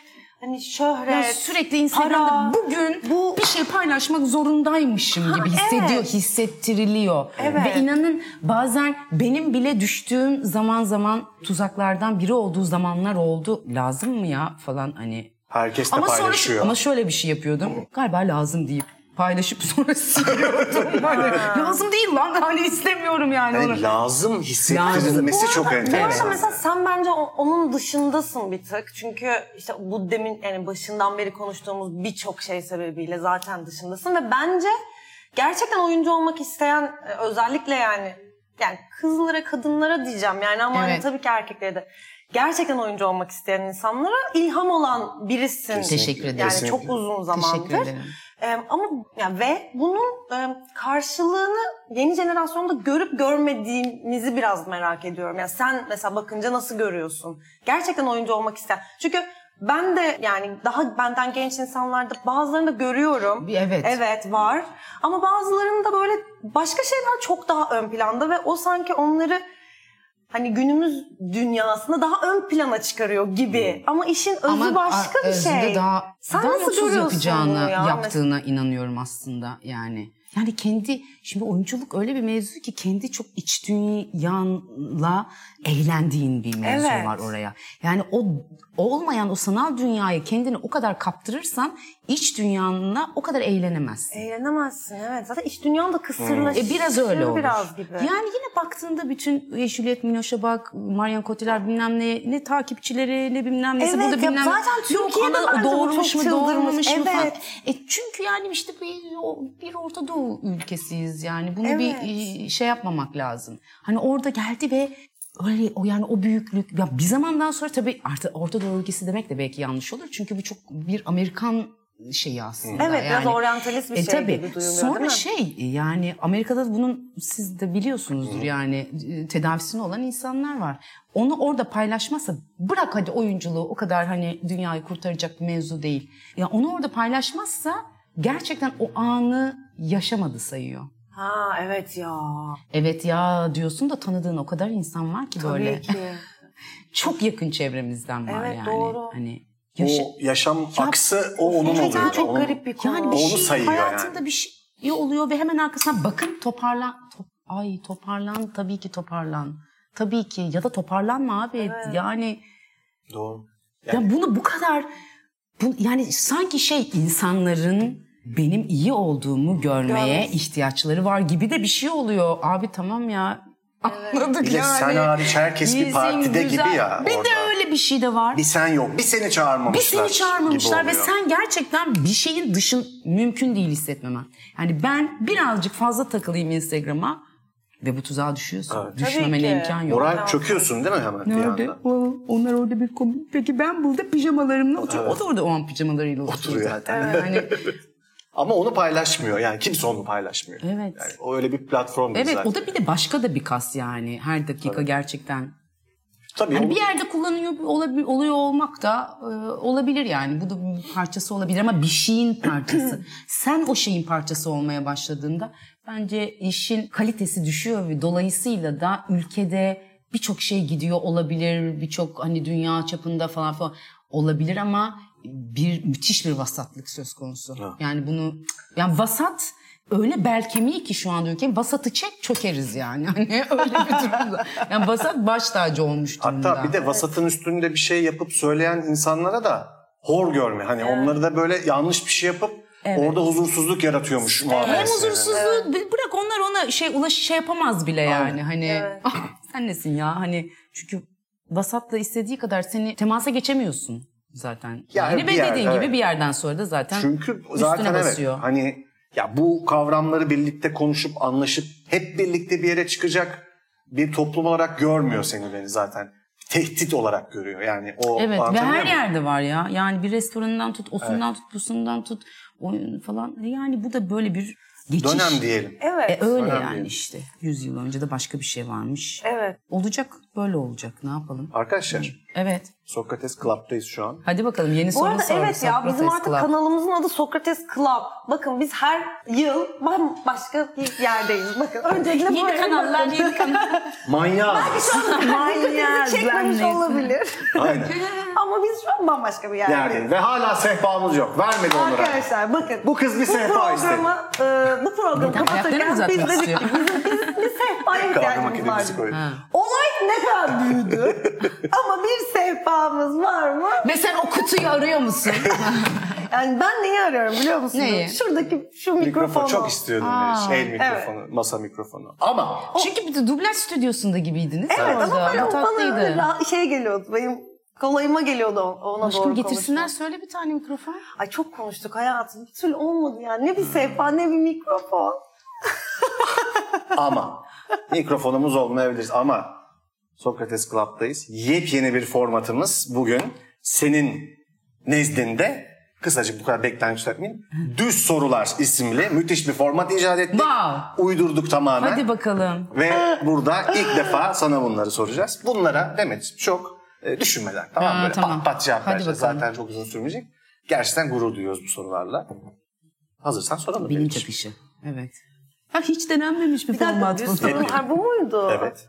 [SPEAKER 3] hani şöhret
[SPEAKER 4] Yani sürekli Instagram'da
[SPEAKER 3] para,
[SPEAKER 4] bugün
[SPEAKER 3] bu-
[SPEAKER 4] bu bir şey paylaşmak zorundaymışım gibi hissediyor,
[SPEAKER 3] evet.
[SPEAKER 4] hissettiriliyor.
[SPEAKER 3] Evet.
[SPEAKER 4] Ve inanın bazen benim bile düştüğüm zaman zaman tuzaklardan biri olduğu zamanlar oldu. Lazım mı ya falan hani
[SPEAKER 2] Herkes de
[SPEAKER 4] Ama
[SPEAKER 2] paylaşıyor.
[SPEAKER 4] sonra ama şöyle bir şey yapıyordum. Galiba lazım deyip paylaşıp sonra siliyordum. Hani lazım değil lan hani istemiyorum yani onu.
[SPEAKER 2] Yani lazım hissettirilmesi
[SPEAKER 4] Lazım.
[SPEAKER 2] çok
[SPEAKER 4] Bu arada-
[SPEAKER 3] Bu arada
[SPEAKER 2] enteresan.
[SPEAKER 3] mesela sen bence o- onun dışındasın bir tık. Çünkü işte bu demin yani başından beri konuştuğumuz birçok şey sebebiyle zaten dışındasın ve bence gerçekten oyuncu olmak isteyen e, özellikle yani yani kızlara, kadınlara diyeceğim yani ama hani
[SPEAKER 4] Evet.
[SPEAKER 3] tabii ki erkeklere de gerçekten oyuncu olmak isteyen insanlara ilham olan birisin.
[SPEAKER 4] Kesinlikle. Teşekkür ederim.
[SPEAKER 3] Yani
[SPEAKER 2] Kesinlikle.
[SPEAKER 3] çok uzun
[SPEAKER 4] Teşekkür
[SPEAKER 3] zamandır.
[SPEAKER 4] ederim.
[SPEAKER 3] Ee, ama yani ve bunun e, karşılığını yeni jenerasyonda görüp görmediğimizi biraz merak ediyorum. Yani sen mesela bakınca nasıl görüyorsun? Gerçekten oyuncu olmak isteyen. Çünkü ben de yani daha benden genç insanlarda bazılarını da görüyorum.
[SPEAKER 4] Bir evet.
[SPEAKER 3] Evet var. Ama bazılarında böyle başka şeyler çok daha ön planda ve o sanki onları hani günümüz dünyasında daha ön plana çıkarıyor gibi. Ama işin özü
[SPEAKER 4] Ama
[SPEAKER 3] başka
[SPEAKER 4] a-
[SPEAKER 3] bir
[SPEAKER 4] özünde
[SPEAKER 3] şey.
[SPEAKER 4] Daha,
[SPEAKER 3] Sen
[SPEAKER 4] daha
[SPEAKER 3] nasıl
[SPEAKER 4] mutsuz
[SPEAKER 3] görüyorsun
[SPEAKER 4] yapacağını,
[SPEAKER 3] bunu ya?
[SPEAKER 4] yaptığına inanıyorum aslında yani. Yani kendi, şimdi oyunculuk öyle bir mevzu ki kendi çok iç dünyanla eğlendiğin bir mevzu
[SPEAKER 3] Evet.
[SPEAKER 4] var oraya. Yani o olmayan o sanal dünyayı kendini o kadar kaptırırsan iç dünyanla o kadar eğlenemezsin.
[SPEAKER 3] Eğlenemezsin evet. Zaten iş dünyanın da kısırlaşır.
[SPEAKER 4] E biraz öyle olur.
[SPEAKER 3] Biraz gibi.
[SPEAKER 4] Yani yine baktığında bütün e, Juliet Minoş'a bak, Marion Cotillard bilmem ne, ne takipçileri ne bilmem nesi.
[SPEAKER 3] Evet,
[SPEAKER 4] burada
[SPEAKER 3] ya
[SPEAKER 4] bilmem
[SPEAKER 3] zaten Türkiye'de
[SPEAKER 4] ana
[SPEAKER 3] bence bu
[SPEAKER 4] doğurmuş
[SPEAKER 3] çok
[SPEAKER 4] mu doğurmamış
[SPEAKER 3] çıldırmış.
[SPEAKER 4] mı falan.
[SPEAKER 3] Evet.
[SPEAKER 4] E çünkü yani işte bir, o- bir Orta Doğu ülkesiyiz yani. Bunu
[SPEAKER 3] Evet.
[SPEAKER 4] bir e, şey yapmamak lazım. Hani orada geldi ve öyle o yani o büyüklük ya bir zamandan sonra tabii artık Orta Doğu ülkesi demek de belki yanlış olur. Çünkü bu çok bir Amerikan şeyi aslında.
[SPEAKER 3] Evet, biraz
[SPEAKER 4] yani.
[SPEAKER 3] oryantalist bir
[SPEAKER 4] E
[SPEAKER 3] şey gibi duyuluyor
[SPEAKER 4] Sonra
[SPEAKER 3] değil mi?
[SPEAKER 4] şey yani Amerika'da bunun siz de biliyorsunuzdur yani e, tedavisini olan insanlar var. Onu orada paylaşmazsa bırak hadi oyunculuğu o kadar hani dünyayı kurtaracak bir mevzu değil. Ya onu orada paylaşmazsa gerçekten o anı yaşamadı sayıyor.
[SPEAKER 3] Ha evet ya.
[SPEAKER 4] Evet ya diyorsun da tanıdığın o kadar insan var ki böyle.
[SPEAKER 3] Tabii ki.
[SPEAKER 4] Çok yakın çevremizden var
[SPEAKER 3] Evet,
[SPEAKER 4] yani.
[SPEAKER 3] doğru.
[SPEAKER 4] Hani yaşa-
[SPEAKER 2] O yaşam aksı o onun
[SPEAKER 3] Gerçekten
[SPEAKER 2] oluyor.
[SPEAKER 3] çok
[SPEAKER 2] Onun-
[SPEAKER 3] garip bir konu.
[SPEAKER 4] Yani bir
[SPEAKER 2] Onu
[SPEAKER 4] şey
[SPEAKER 2] sayıyor
[SPEAKER 4] hayatında
[SPEAKER 2] yani.
[SPEAKER 4] bir şey oluyor ve hemen arkasına bakın toparlan. top- ay toparlan tabii ki toparlan. Tabii ki ya da toparlanma abi. Yani
[SPEAKER 2] Doğru.
[SPEAKER 4] ya bunu bu kadar bu, yani sanki şey insanların benim iyi olduğumu görmeye
[SPEAKER 3] Görmesi.
[SPEAKER 4] ihtiyaçları var gibi de bir şey oluyor. Abi tamam ya. Anladık
[SPEAKER 2] Bir de
[SPEAKER 4] yani.
[SPEAKER 2] sen hariç herkes bir
[SPEAKER 4] Bizim
[SPEAKER 2] partide
[SPEAKER 4] güzel-
[SPEAKER 2] gibi ya
[SPEAKER 4] Bir de
[SPEAKER 2] orada.
[SPEAKER 4] öyle bir şey de var.
[SPEAKER 2] Bir sen yok. Bir seni çağırmamışlar.
[SPEAKER 4] Bir seni çağırmamışlar
[SPEAKER 2] gibi
[SPEAKER 4] ve
[SPEAKER 2] oluyor.
[SPEAKER 4] sen gerçekten bir şeyin dışın mümkün değil hissetmemen. Yani ben birazcık fazla takılayım Instagram'a ve bu tuzağa düşüyorsun.
[SPEAKER 2] Evet.
[SPEAKER 4] Düşmemene
[SPEAKER 3] Tabii ki.
[SPEAKER 4] imkan yok.
[SPEAKER 2] Moral çöküyorsun değil mi hemen bir
[SPEAKER 4] Nerede?
[SPEAKER 2] anda?
[SPEAKER 4] Aa, Onlar orada bir komik. Peki ben burada pijamalarımla oturuyorum. O da orada o an pijamalarıyla oturuyor,
[SPEAKER 2] Oturuyor.
[SPEAKER 4] zaten. Yani,
[SPEAKER 2] Ama onu paylaşmıyor. Yani kimse onu paylaşmıyor.
[SPEAKER 4] Evet.
[SPEAKER 2] Yani o öyle bir platform değil
[SPEAKER 4] evet
[SPEAKER 2] zaten.
[SPEAKER 4] o da bir de başka da bir kas yani. Her dakika gerçekten.
[SPEAKER 2] Tabii
[SPEAKER 4] Yani
[SPEAKER 2] o-
[SPEAKER 4] Hani bir yerde kullanıyor olabi- oluyor olmak da e, olabilir yani. Bu da bir parçası olabilir ama bir şeyin parçası. Sen o şeyin parçası olmaya başladığında bence işin kalitesi düşüyor ve dolayısıyla da ülkede birçok şey gidiyor olabilir. Birçok hani dünya çapında falan falan olabilir ama bir müthiş bir vasatlık söz konusu. Yani bunu yani vasat öyle belkemiği ki şu anda ülke vasatı çek çökeriz yani. Hani öyle bir durumda. Yani vasat baş tacı olmuş durumda.
[SPEAKER 2] Hatta bir de vasatın üstünde bir şey yapıp söyleyen insanlara da hor görme. Hani onları da böyle yanlış bir şey yapıp orada huzursuzluk yaratıyormuş
[SPEAKER 4] hem
[SPEAKER 2] muamelesi.
[SPEAKER 4] huzursuzluğu b- bırak onlar ona şey ulaş şey yapamaz bile yani hani "Ah, sen nesin ya hani çünkü vasatla istediği kadar seni temasa geçemiyorsun zaten.
[SPEAKER 2] Ya
[SPEAKER 4] yani
[SPEAKER 2] bir
[SPEAKER 4] ve
[SPEAKER 2] yer,
[SPEAKER 4] dediğin gibi
[SPEAKER 2] evet.
[SPEAKER 4] bir yerden sonra da zaten
[SPEAKER 2] Çünkü
[SPEAKER 4] üstüne
[SPEAKER 2] zaten evet
[SPEAKER 4] basıyor.
[SPEAKER 2] hani ya bu kavramları birlikte konuşup anlaşıp hep birlikte bir yere çıkacak bir toplum olarak görmüyor seni beni zaten. Tehdit olarak görüyor yani o
[SPEAKER 4] Evet ve
[SPEAKER 2] anlatabiliyor
[SPEAKER 4] her
[SPEAKER 2] muyum?
[SPEAKER 4] yerde var ya. Yani bir restoranından tut, osundan tut, busundan tut, oyun falan. E, Yani bu da böyle bir geçiş.
[SPEAKER 2] dönem diyelim.
[SPEAKER 3] Evet.
[SPEAKER 4] E, öyle
[SPEAKER 2] Dönem
[SPEAKER 4] yani
[SPEAKER 2] diyelim.
[SPEAKER 4] işte. 100 yıl önce de başka bir şey varmış.
[SPEAKER 3] Evet.
[SPEAKER 4] Olacak, böyle olacak. Ne yapalım?
[SPEAKER 2] Arkadaşlar
[SPEAKER 4] Evet.
[SPEAKER 2] Sokrates Club'dayız şu an.
[SPEAKER 4] Hadi bakalım yeni
[SPEAKER 3] Bu
[SPEAKER 4] soru
[SPEAKER 3] arada
[SPEAKER 4] sor.
[SPEAKER 3] evet ya
[SPEAKER 4] Sokrates
[SPEAKER 3] bizim artık
[SPEAKER 4] Club.
[SPEAKER 3] kanalımızın adı Sokrates Club. Bakın biz her yıl başka bir yerdeyiz. Bakın öncelikle bu
[SPEAKER 4] Yeni kanallar, yeni kanallar.
[SPEAKER 2] Manyağız.
[SPEAKER 3] Manyaklar. çekmemiş
[SPEAKER 4] Manyaklar.
[SPEAKER 3] olabilir.
[SPEAKER 2] Aynen.
[SPEAKER 3] Ama biz şu an bambaşka bir yerdeyiz.
[SPEAKER 2] Yani ve hala sehpamız yok. Vermedi onlara.
[SPEAKER 3] Arkadaşlar bakın.
[SPEAKER 2] Bu kız bir sehpa istedi.
[SPEAKER 3] programı, e, bu programı
[SPEAKER 4] Ayaklarını mı
[SPEAKER 3] kapatırken biz
[SPEAKER 4] uzatmak
[SPEAKER 3] dedik
[SPEAKER 4] istiyor?
[SPEAKER 3] ki bizim, bizim, bizim sehpaya
[SPEAKER 2] Kahve
[SPEAKER 3] ihtiyacımız
[SPEAKER 2] makinemizi
[SPEAKER 3] vardı.
[SPEAKER 2] koyduk.
[SPEAKER 3] Olay ne kadar büyüdü. Ama bir sehpamız var mı?
[SPEAKER 4] Ve sen o kutuyu arıyor musun?
[SPEAKER 3] Yani ben neyi arıyorum biliyor musunuz?
[SPEAKER 4] Neyi?
[SPEAKER 3] Şuradaki şu
[SPEAKER 2] Mikrofon
[SPEAKER 3] mikrofonu.
[SPEAKER 2] çok istiyordum.
[SPEAKER 4] Aa.
[SPEAKER 2] el mikrofonu, masa mikrofonu. Ama
[SPEAKER 4] Çünkü bir de dublaj stüdyosunda gibiydiniz.
[SPEAKER 3] Evet ama böyle o bana
[SPEAKER 4] tatlıydı.
[SPEAKER 3] öyle ra- şey geliyordu. Benim kolayıma geliyordu o- ona doğru
[SPEAKER 4] Aşkım getirsinler
[SPEAKER 3] konuşmak.
[SPEAKER 4] söyle bir tane mikrofon.
[SPEAKER 3] Ay çok konuştuk hayatım. Bir türlü olmadı yani. Ne bir sehpa ne bir mikrofon.
[SPEAKER 2] ama mikrofonumuz olmayabiliriz ama Sokrates Club'dayız. Yepyeni bir formatımız bugün senin nezdinde kısacık bu kadar beklenti tutmayayım. Düz Sorular isimli müthiş bir format icat ettik.
[SPEAKER 4] Wow.
[SPEAKER 2] Uydurduk tamamen.
[SPEAKER 4] Hadi bakalım.
[SPEAKER 2] Ve burada ilk defa sana bunları soracağız. Bunlara Demet çok e, düşünmeden tamam mı?
[SPEAKER 4] Ha,
[SPEAKER 2] böyle
[SPEAKER 4] tamam.
[SPEAKER 2] pat pat cevap
[SPEAKER 4] Hadi
[SPEAKER 2] vereceğiz.
[SPEAKER 4] bakalım.
[SPEAKER 2] Zaten çok uzun sürmeyecek. Gerçekten gurur duyuyoruz bu sorularla. Hazırsan soralım.
[SPEAKER 4] Benim
[SPEAKER 2] Demet'ciğim.
[SPEAKER 4] çakışı. Evet. Ha, hiç denenmemiş bir,
[SPEAKER 3] Bir dakika
[SPEAKER 4] format bu.
[SPEAKER 3] düz sorun. Ha, bu muydu?
[SPEAKER 2] Evet.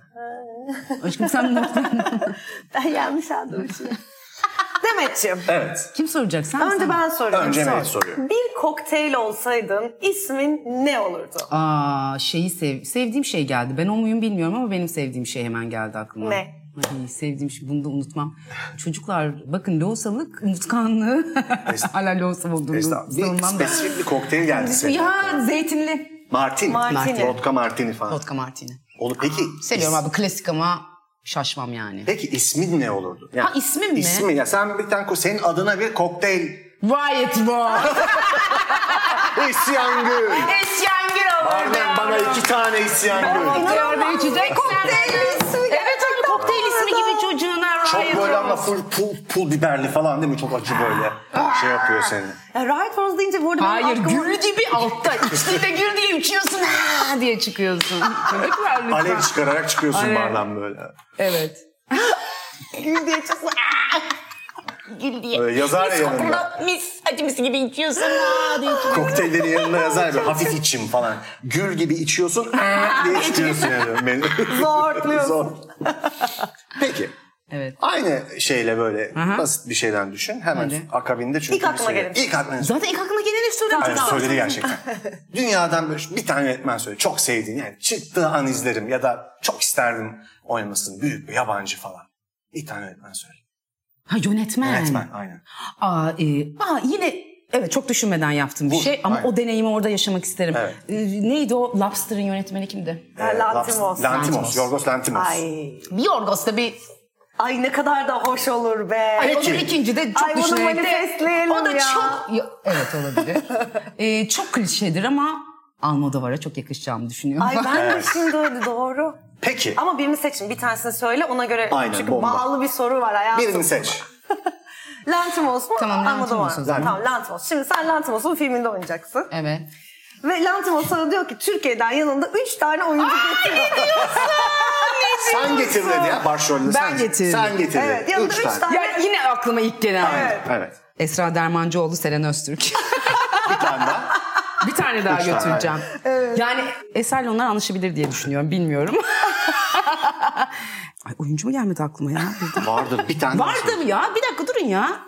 [SPEAKER 4] Aşkım sen nokta.
[SPEAKER 3] Ben yanlış anlamışım. Demetciğim.
[SPEAKER 2] Evet.
[SPEAKER 4] Kim soracak? Sen
[SPEAKER 3] Önce
[SPEAKER 4] sen.
[SPEAKER 3] ben soruyorum.
[SPEAKER 2] Önce
[SPEAKER 3] sor.
[SPEAKER 2] Mehmet soruyor.
[SPEAKER 3] Bir kokteyl olsaydın ismin ne olurdu?
[SPEAKER 4] Aa, şeyi sev sevdiğim şey geldi. Ben o muyum bilmiyorum ama benim sevdiğim şey hemen geldi aklıma.
[SPEAKER 3] Ne?
[SPEAKER 4] Ay, sevdiğim şey bunu da unutmam. Çocuklar bakın loğusalık unutkanlığı. Hala loğusam olduğunu
[SPEAKER 2] Estağfurullah. Bir
[SPEAKER 4] savunmam da.
[SPEAKER 2] spesifik bir şey. kokteyl geldi senin.
[SPEAKER 4] Ya zeytinli.
[SPEAKER 2] Martini.
[SPEAKER 3] Martini.
[SPEAKER 2] Vodka martini falan.
[SPEAKER 4] Vodka martini.
[SPEAKER 2] Olur peki.
[SPEAKER 4] Seviyorum
[SPEAKER 2] is-
[SPEAKER 4] abi klasik ama şaşmam yani.
[SPEAKER 2] Peki ismin ne olurdu? Yani
[SPEAKER 4] Ha, ismim mi?
[SPEAKER 2] İsmi ya sen bir tane ko- senin adına bir kokteyl.
[SPEAKER 4] Riot War.
[SPEAKER 2] İsyangül.
[SPEAKER 4] Eşyengir olur
[SPEAKER 2] Aynen bana iki tane isyangül.
[SPEAKER 4] Yerde içecek. Kokteyl ismi. Evet öyle kokteyl ismi gibi çocuğuna
[SPEAKER 2] Çok
[SPEAKER 4] Riot
[SPEAKER 2] böyle
[SPEAKER 4] War.
[SPEAKER 2] ama full pul, pul biberli falan değil mi? Çok acı böyle. şey yapıyor seni.
[SPEAKER 3] Ya, Riot Wars deyince bu arada benim
[SPEAKER 4] Hayır
[SPEAKER 3] aklıma-
[SPEAKER 4] gül gibi altta içtiğinde gül diye uçuyorsun ha diye çıkıyorsun. Çocuklar lütfen.
[SPEAKER 2] Alev çıkararak çıkıyorsun
[SPEAKER 4] Alev.
[SPEAKER 2] bardan böyle.
[SPEAKER 4] Evet.
[SPEAKER 3] Gül diye çıksın.
[SPEAKER 4] Gül diye.
[SPEAKER 2] Öyle yazar ya
[SPEAKER 4] mis
[SPEAKER 2] yanında.
[SPEAKER 4] kokulu, mis acı mis gibi içiyorsun ha diye çıkıyorsun.
[SPEAKER 2] Kokteyllerin yanında yazar böyle hafif içim falan. Gül gibi içiyorsun "Aa" diye içiyorsun yani. Beni.
[SPEAKER 3] Zorluyorsun.
[SPEAKER 2] Zor. Peki.
[SPEAKER 4] Evet.
[SPEAKER 2] Aynı şeyle böyle
[SPEAKER 4] Aha.
[SPEAKER 2] basit bir şeyden düşün. Hemen
[SPEAKER 4] Hadi.
[SPEAKER 2] akabinde çünkü
[SPEAKER 3] İlk aklıma
[SPEAKER 2] bir şey-
[SPEAKER 3] gelmiş.
[SPEAKER 2] İlk aklına
[SPEAKER 4] Zaten ilk aklına geleni söyledim.
[SPEAKER 2] Hayır, söyledi gerçekten. Dünyadan böyle bir tane yönetmen söyle. Çok sevdiğin yani çıktığı an izlerim ya da çok isterdim oynamasını. Büyük bir yabancı falan. Bir tane yönetmen söyle.
[SPEAKER 4] Ha
[SPEAKER 3] Hmm.
[SPEAKER 4] yönetmen.
[SPEAKER 2] Yönetmen aynen.
[SPEAKER 4] Aa, e, aa, yine evet çok düşünmeden yaptım bir
[SPEAKER 2] Bu,
[SPEAKER 4] şey ama
[SPEAKER 2] aynen.
[SPEAKER 4] o deneyimi orada yaşamak isterim.
[SPEAKER 2] Evet.
[SPEAKER 4] E, neydi o Lobster'ın yönetmeni kimdi?
[SPEAKER 3] Ha, Lantimos.
[SPEAKER 2] Lantimos. Lantimos. Ee, Yorgos Lantimos.
[SPEAKER 3] Ay.
[SPEAKER 4] Bir Yorgos'ta bir
[SPEAKER 3] Ay ne kadar da hoş olur be.
[SPEAKER 4] Ay,
[SPEAKER 2] Peki.
[SPEAKER 4] onun ikinci de çok
[SPEAKER 3] Ay, bunu
[SPEAKER 4] düşünerek de-
[SPEAKER 3] manifestleyelim
[SPEAKER 4] O da
[SPEAKER 3] ya.
[SPEAKER 4] çok... Ya, evet olabilir. Ee, çok klişedir ama Almodovar'a çok yakışacağımı düşünüyorum.
[SPEAKER 3] Ay ben de şimdi öyle doğru.
[SPEAKER 2] Peki.
[SPEAKER 3] Ama birini seçin bir tanesini söyle ona göre.
[SPEAKER 2] Aynen,
[SPEAKER 3] çünkü
[SPEAKER 2] bomba.
[SPEAKER 3] bağlı bir soru var hayatım.
[SPEAKER 2] Birini seç.
[SPEAKER 3] Lantimos mu?
[SPEAKER 4] Tamam, Lantimos
[SPEAKER 3] Almodovar
[SPEAKER 4] o
[SPEAKER 3] mı?
[SPEAKER 4] zaman.
[SPEAKER 3] Tamam Lantimos. Şimdi sen Lantimos'un filminde oynayacaksın.
[SPEAKER 4] Evet.
[SPEAKER 3] Ve Lantimos sana diyor ki Türkiye'den yanında 3 tane oyuncu getir.
[SPEAKER 2] Sen getir dedi ya başrolünü.
[SPEAKER 4] Ben
[SPEAKER 2] sen,
[SPEAKER 4] getirdim.
[SPEAKER 2] Sen getir dedi.
[SPEAKER 3] Evet, yanında üç tane.
[SPEAKER 4] Ya yine aklıma ilk gelen.
[SPEAKER 3] Evet.
[SPEAKER 2] Evet.
[SPEAKER 4] Esra Dermancıoğlu, Seren Öztürk.
[SPEAKER 2] Bir tane daha.
[SPEAKER 4] bir tane daha
[SPEAKER 2] Üç tane,
[SPEAKER 4] götüreceğim. Yani eserle onlar anlaşabilir diye düşünüyorum. Bilmiyorum. Ay oyuncu mu gelmedi aklıma ya?
[SPEAKER 2] Vardır bir tane. daha
[SPEAKER 4] Vardı
[SPEAKER 2] söyle.
[SPEAKER 4] mı ya? Bir dakika durun ya.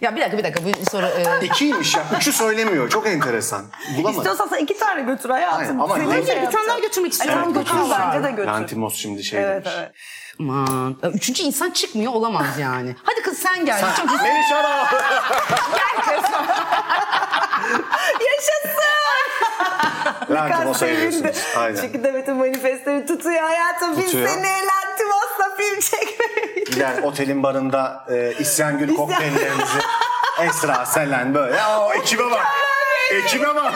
[SPEAKER 4] Ya bir dakika bir dakika bu soru... e,
[SPEAKER 2] İkiymiş ya. Üçü söylemiyor. Çok enteresan. Bulamadım.
[SPEAKER 3] İstiyorsan sen 2 tane götür hayatım.
[SPEAKER 2] Aynen, ama
[SPEAKER 3] Senin
[SPEAKER 2] Hayır,
[SPEAKER 3] şey
[SPEAKER 4] bir tane daha
[SPEAKER 3] yapacağım.
[SPEAKER 4] götürmek
[SPEAKER 3] Ay,
[SPEAKER 4] istiyorum.
[SPEAKER 3] tamam götür
[SPEAKER 4] Dokuz var.
[SPEAKER 3] bence de götür.
[SPEAKER 2] Lantimos şimdi şey
[SPEAKER 3] Evet
[SPEAKER 2] demiş.
[SPEAKER 3] evet.
[SPEAKER 4] Aman. Üçüncü insan çıkmıyor olamaz yani. Hadi kız sen gel. Çok güzel.
[SPEAKER 2] Meriç Aral.
[SPEAKER 3] Yaşasın.
[SPEAKER 2] Lantimos'a
[SPEAKER 3] Kastevinde.
[SPEAKER 2] geliyorsunuz. Aynen.
[SPEAKER 3] Çünkü Demet'in manifestleri tutuyor hayatım. Biz
[SPEAKER 2] Tutuyor.
[SPEAKER 3] seni Lantimos'la film çekmeyiz.
[SPEAKER 2] Gider otelin barında e, isyan günü
[SPEAKER 3] İsyan-
[SPEAKER 2] kokteyllerimizi Esra, Selen böyle. Ya o ekibe bak. Ekibe bak.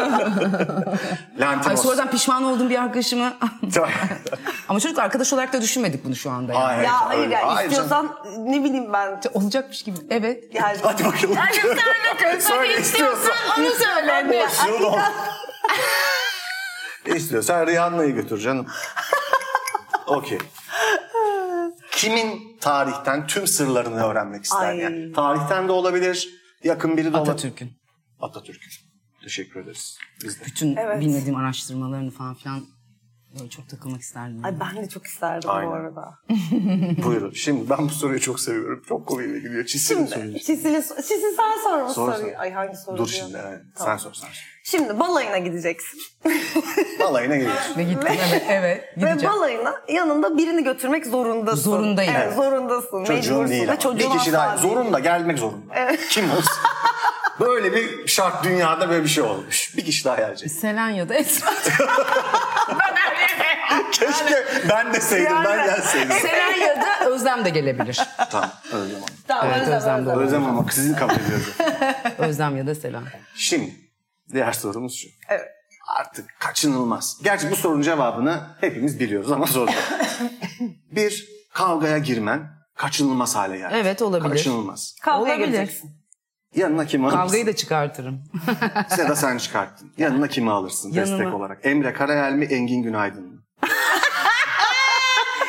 [SPEAKER 4] Ay
[SPEAKER 2] Lantimos.
[SPEAKER 4] sonradan pişman oldum bir arkadaşımı. Ama çocuk arkadaş olarak da düşünmedik bunu şu anda. Yani.
[SPEAKER 2] Hayır,
[SPEAKER 3] Ya hayır
[SPEAKER 2] öyle.
[SPEAKER 3] ya
[SPEAKER 2] Hayır canım.
[SPEAKER 3] istiyorsan ne bileyim ben.
[SPEAKER 4] Olacakmış gibi. Evet.
[SPEAKER 3] Yani
[SPEAKER 2] Hadi bakalım. Söyle istiyorsan.
[SPEAKER 4] onu söyle.
[SPEAKER 2] Yudum. İstiyorsan Rihanna'yı götür canım. Okey. Kimin tarihten tüm sırlarını öğrenmek ister?
[SPEAKER 3] Ay.
[SPEAKER 2] Yani? Tarihten de olabilir, yakın biri de olabilir.
[SPEAKER 4] Atatürk'ün
[SPEAKER 2] Atatürk. Teşekkür ederiz. Biz de.
[SPEAKER 4] bütün
[SPEAKER 3] Evet.
[SPEAKER 4] bilmediğim araştırmalarını falan filan Böyle çok takılmak isterdim.
[SPEAKER 3] Ay ben de çok isterdim
[SPEAKER 2] Aynen.
[SPEAKER 3] bu arada.
[SPEAKER 2] Buyurun. Şimdi ben bu soruyu çok seviyorum. Çok komiğime gidiyor. Çizsin mi soruyu?
[SPEAKER 3] Şimdi Çisili, Çisil sen sor bu
[SPEAKER 2] Sor,
[SPEAKER 3] soruyu.
[SPEAKER 2] sor.
[SPEAKER 3] Ay hangi soru
[SPEAKER 2] Dur
[SPEAKER 3] diyor?
[SPEAKER 2] şimdi. evet. Sen
[SPEAKER 3] Tamam.
[SPEAKER 2] sor sen sor.
[SPEAKER 3] Şimdi balayına gideceksin.
[SPEAKER 2] Vallahi ne geliyorsun?
[SPEAKER 4] Ve gittim evet. evet
[SPEAKER 3] Ve
[SPEAKER 4] gideceğim.
[SPEAKER 3] balayına yanında birini götürmek zorundasın.
[SPEAKER 4] Zorundayım.
[SPEAKER 3] Evet,
[SPEAKER 4] Evet.
[SPEAKER 3] zorundasın.
[SPEAKER 2] Çocuğun
[SPEAKER 3] Mecbursun
[SPEAKER 2] değil
[SPEAKER 3] ve
[SPEAKER 2] ama.
[SPEAKER 3] çocuğun
[SPEAKER 2] bir kişi daha.
[SPEAKER 3] asla değil.
[SPEAKER 2] Zorunda gelmek zorunda. Kim olsun? böyle bir şart dünyada böyle bir şey olmuş. Bir kişi daha gelecek.
[SPEAKER 4] Selenya'da Esra.
[SPEAKER 2] Keşke ben deseydim ben gelseydim.
[SPEAKER 4] Selenya'da Özlem de gelebilir.
[SPEAKER 2] tamam Özlem Hanım.
[SPEAKER 3] Tamam,
[SPEAKER 4] Evet,
[SPEAKER 3] Özlem,
[SPEAKER 4] Özlem
[SPEAKER 3] Özlem.
[SPEAKER 4] doğru.
[SPEAKER 2] Özlem Hanım sizin kabul ediyoruz.
[SPEAKER 4] Özlem ya da Selen.
[SPEAKER 2] Şimdi diğer sorumuz şu.
[SPEAKER 3] Evet.
[SPEAKER 2] Artık kaçınılmaz. Gerçi bu sorunun cevabını hepimiz biliyoruz ama zor. bir kavgaya girmen kaçınılmaz hale geldi.
[SPEAKER 4] Evet, olabilir.
[SPEAKER 2] Kaçınılmaz.
[SPEAKER 3] Kavgaya
[SPEAKER 4] Olabilir.
[SPEAKER 3] gireceksin.
[SPEAKER 2] Yanına kimi alırsın?
[SPEAKER 4] Kavgayı da çıkartırım.
[SPEAKER 2] Ya da sen çıkarttın. Yanına kimi alırsın destek
[SPEAKER 4] Yanıma.
[SPEAKER 2] olarak? Emre Karayel mi Engin Günaydın mı?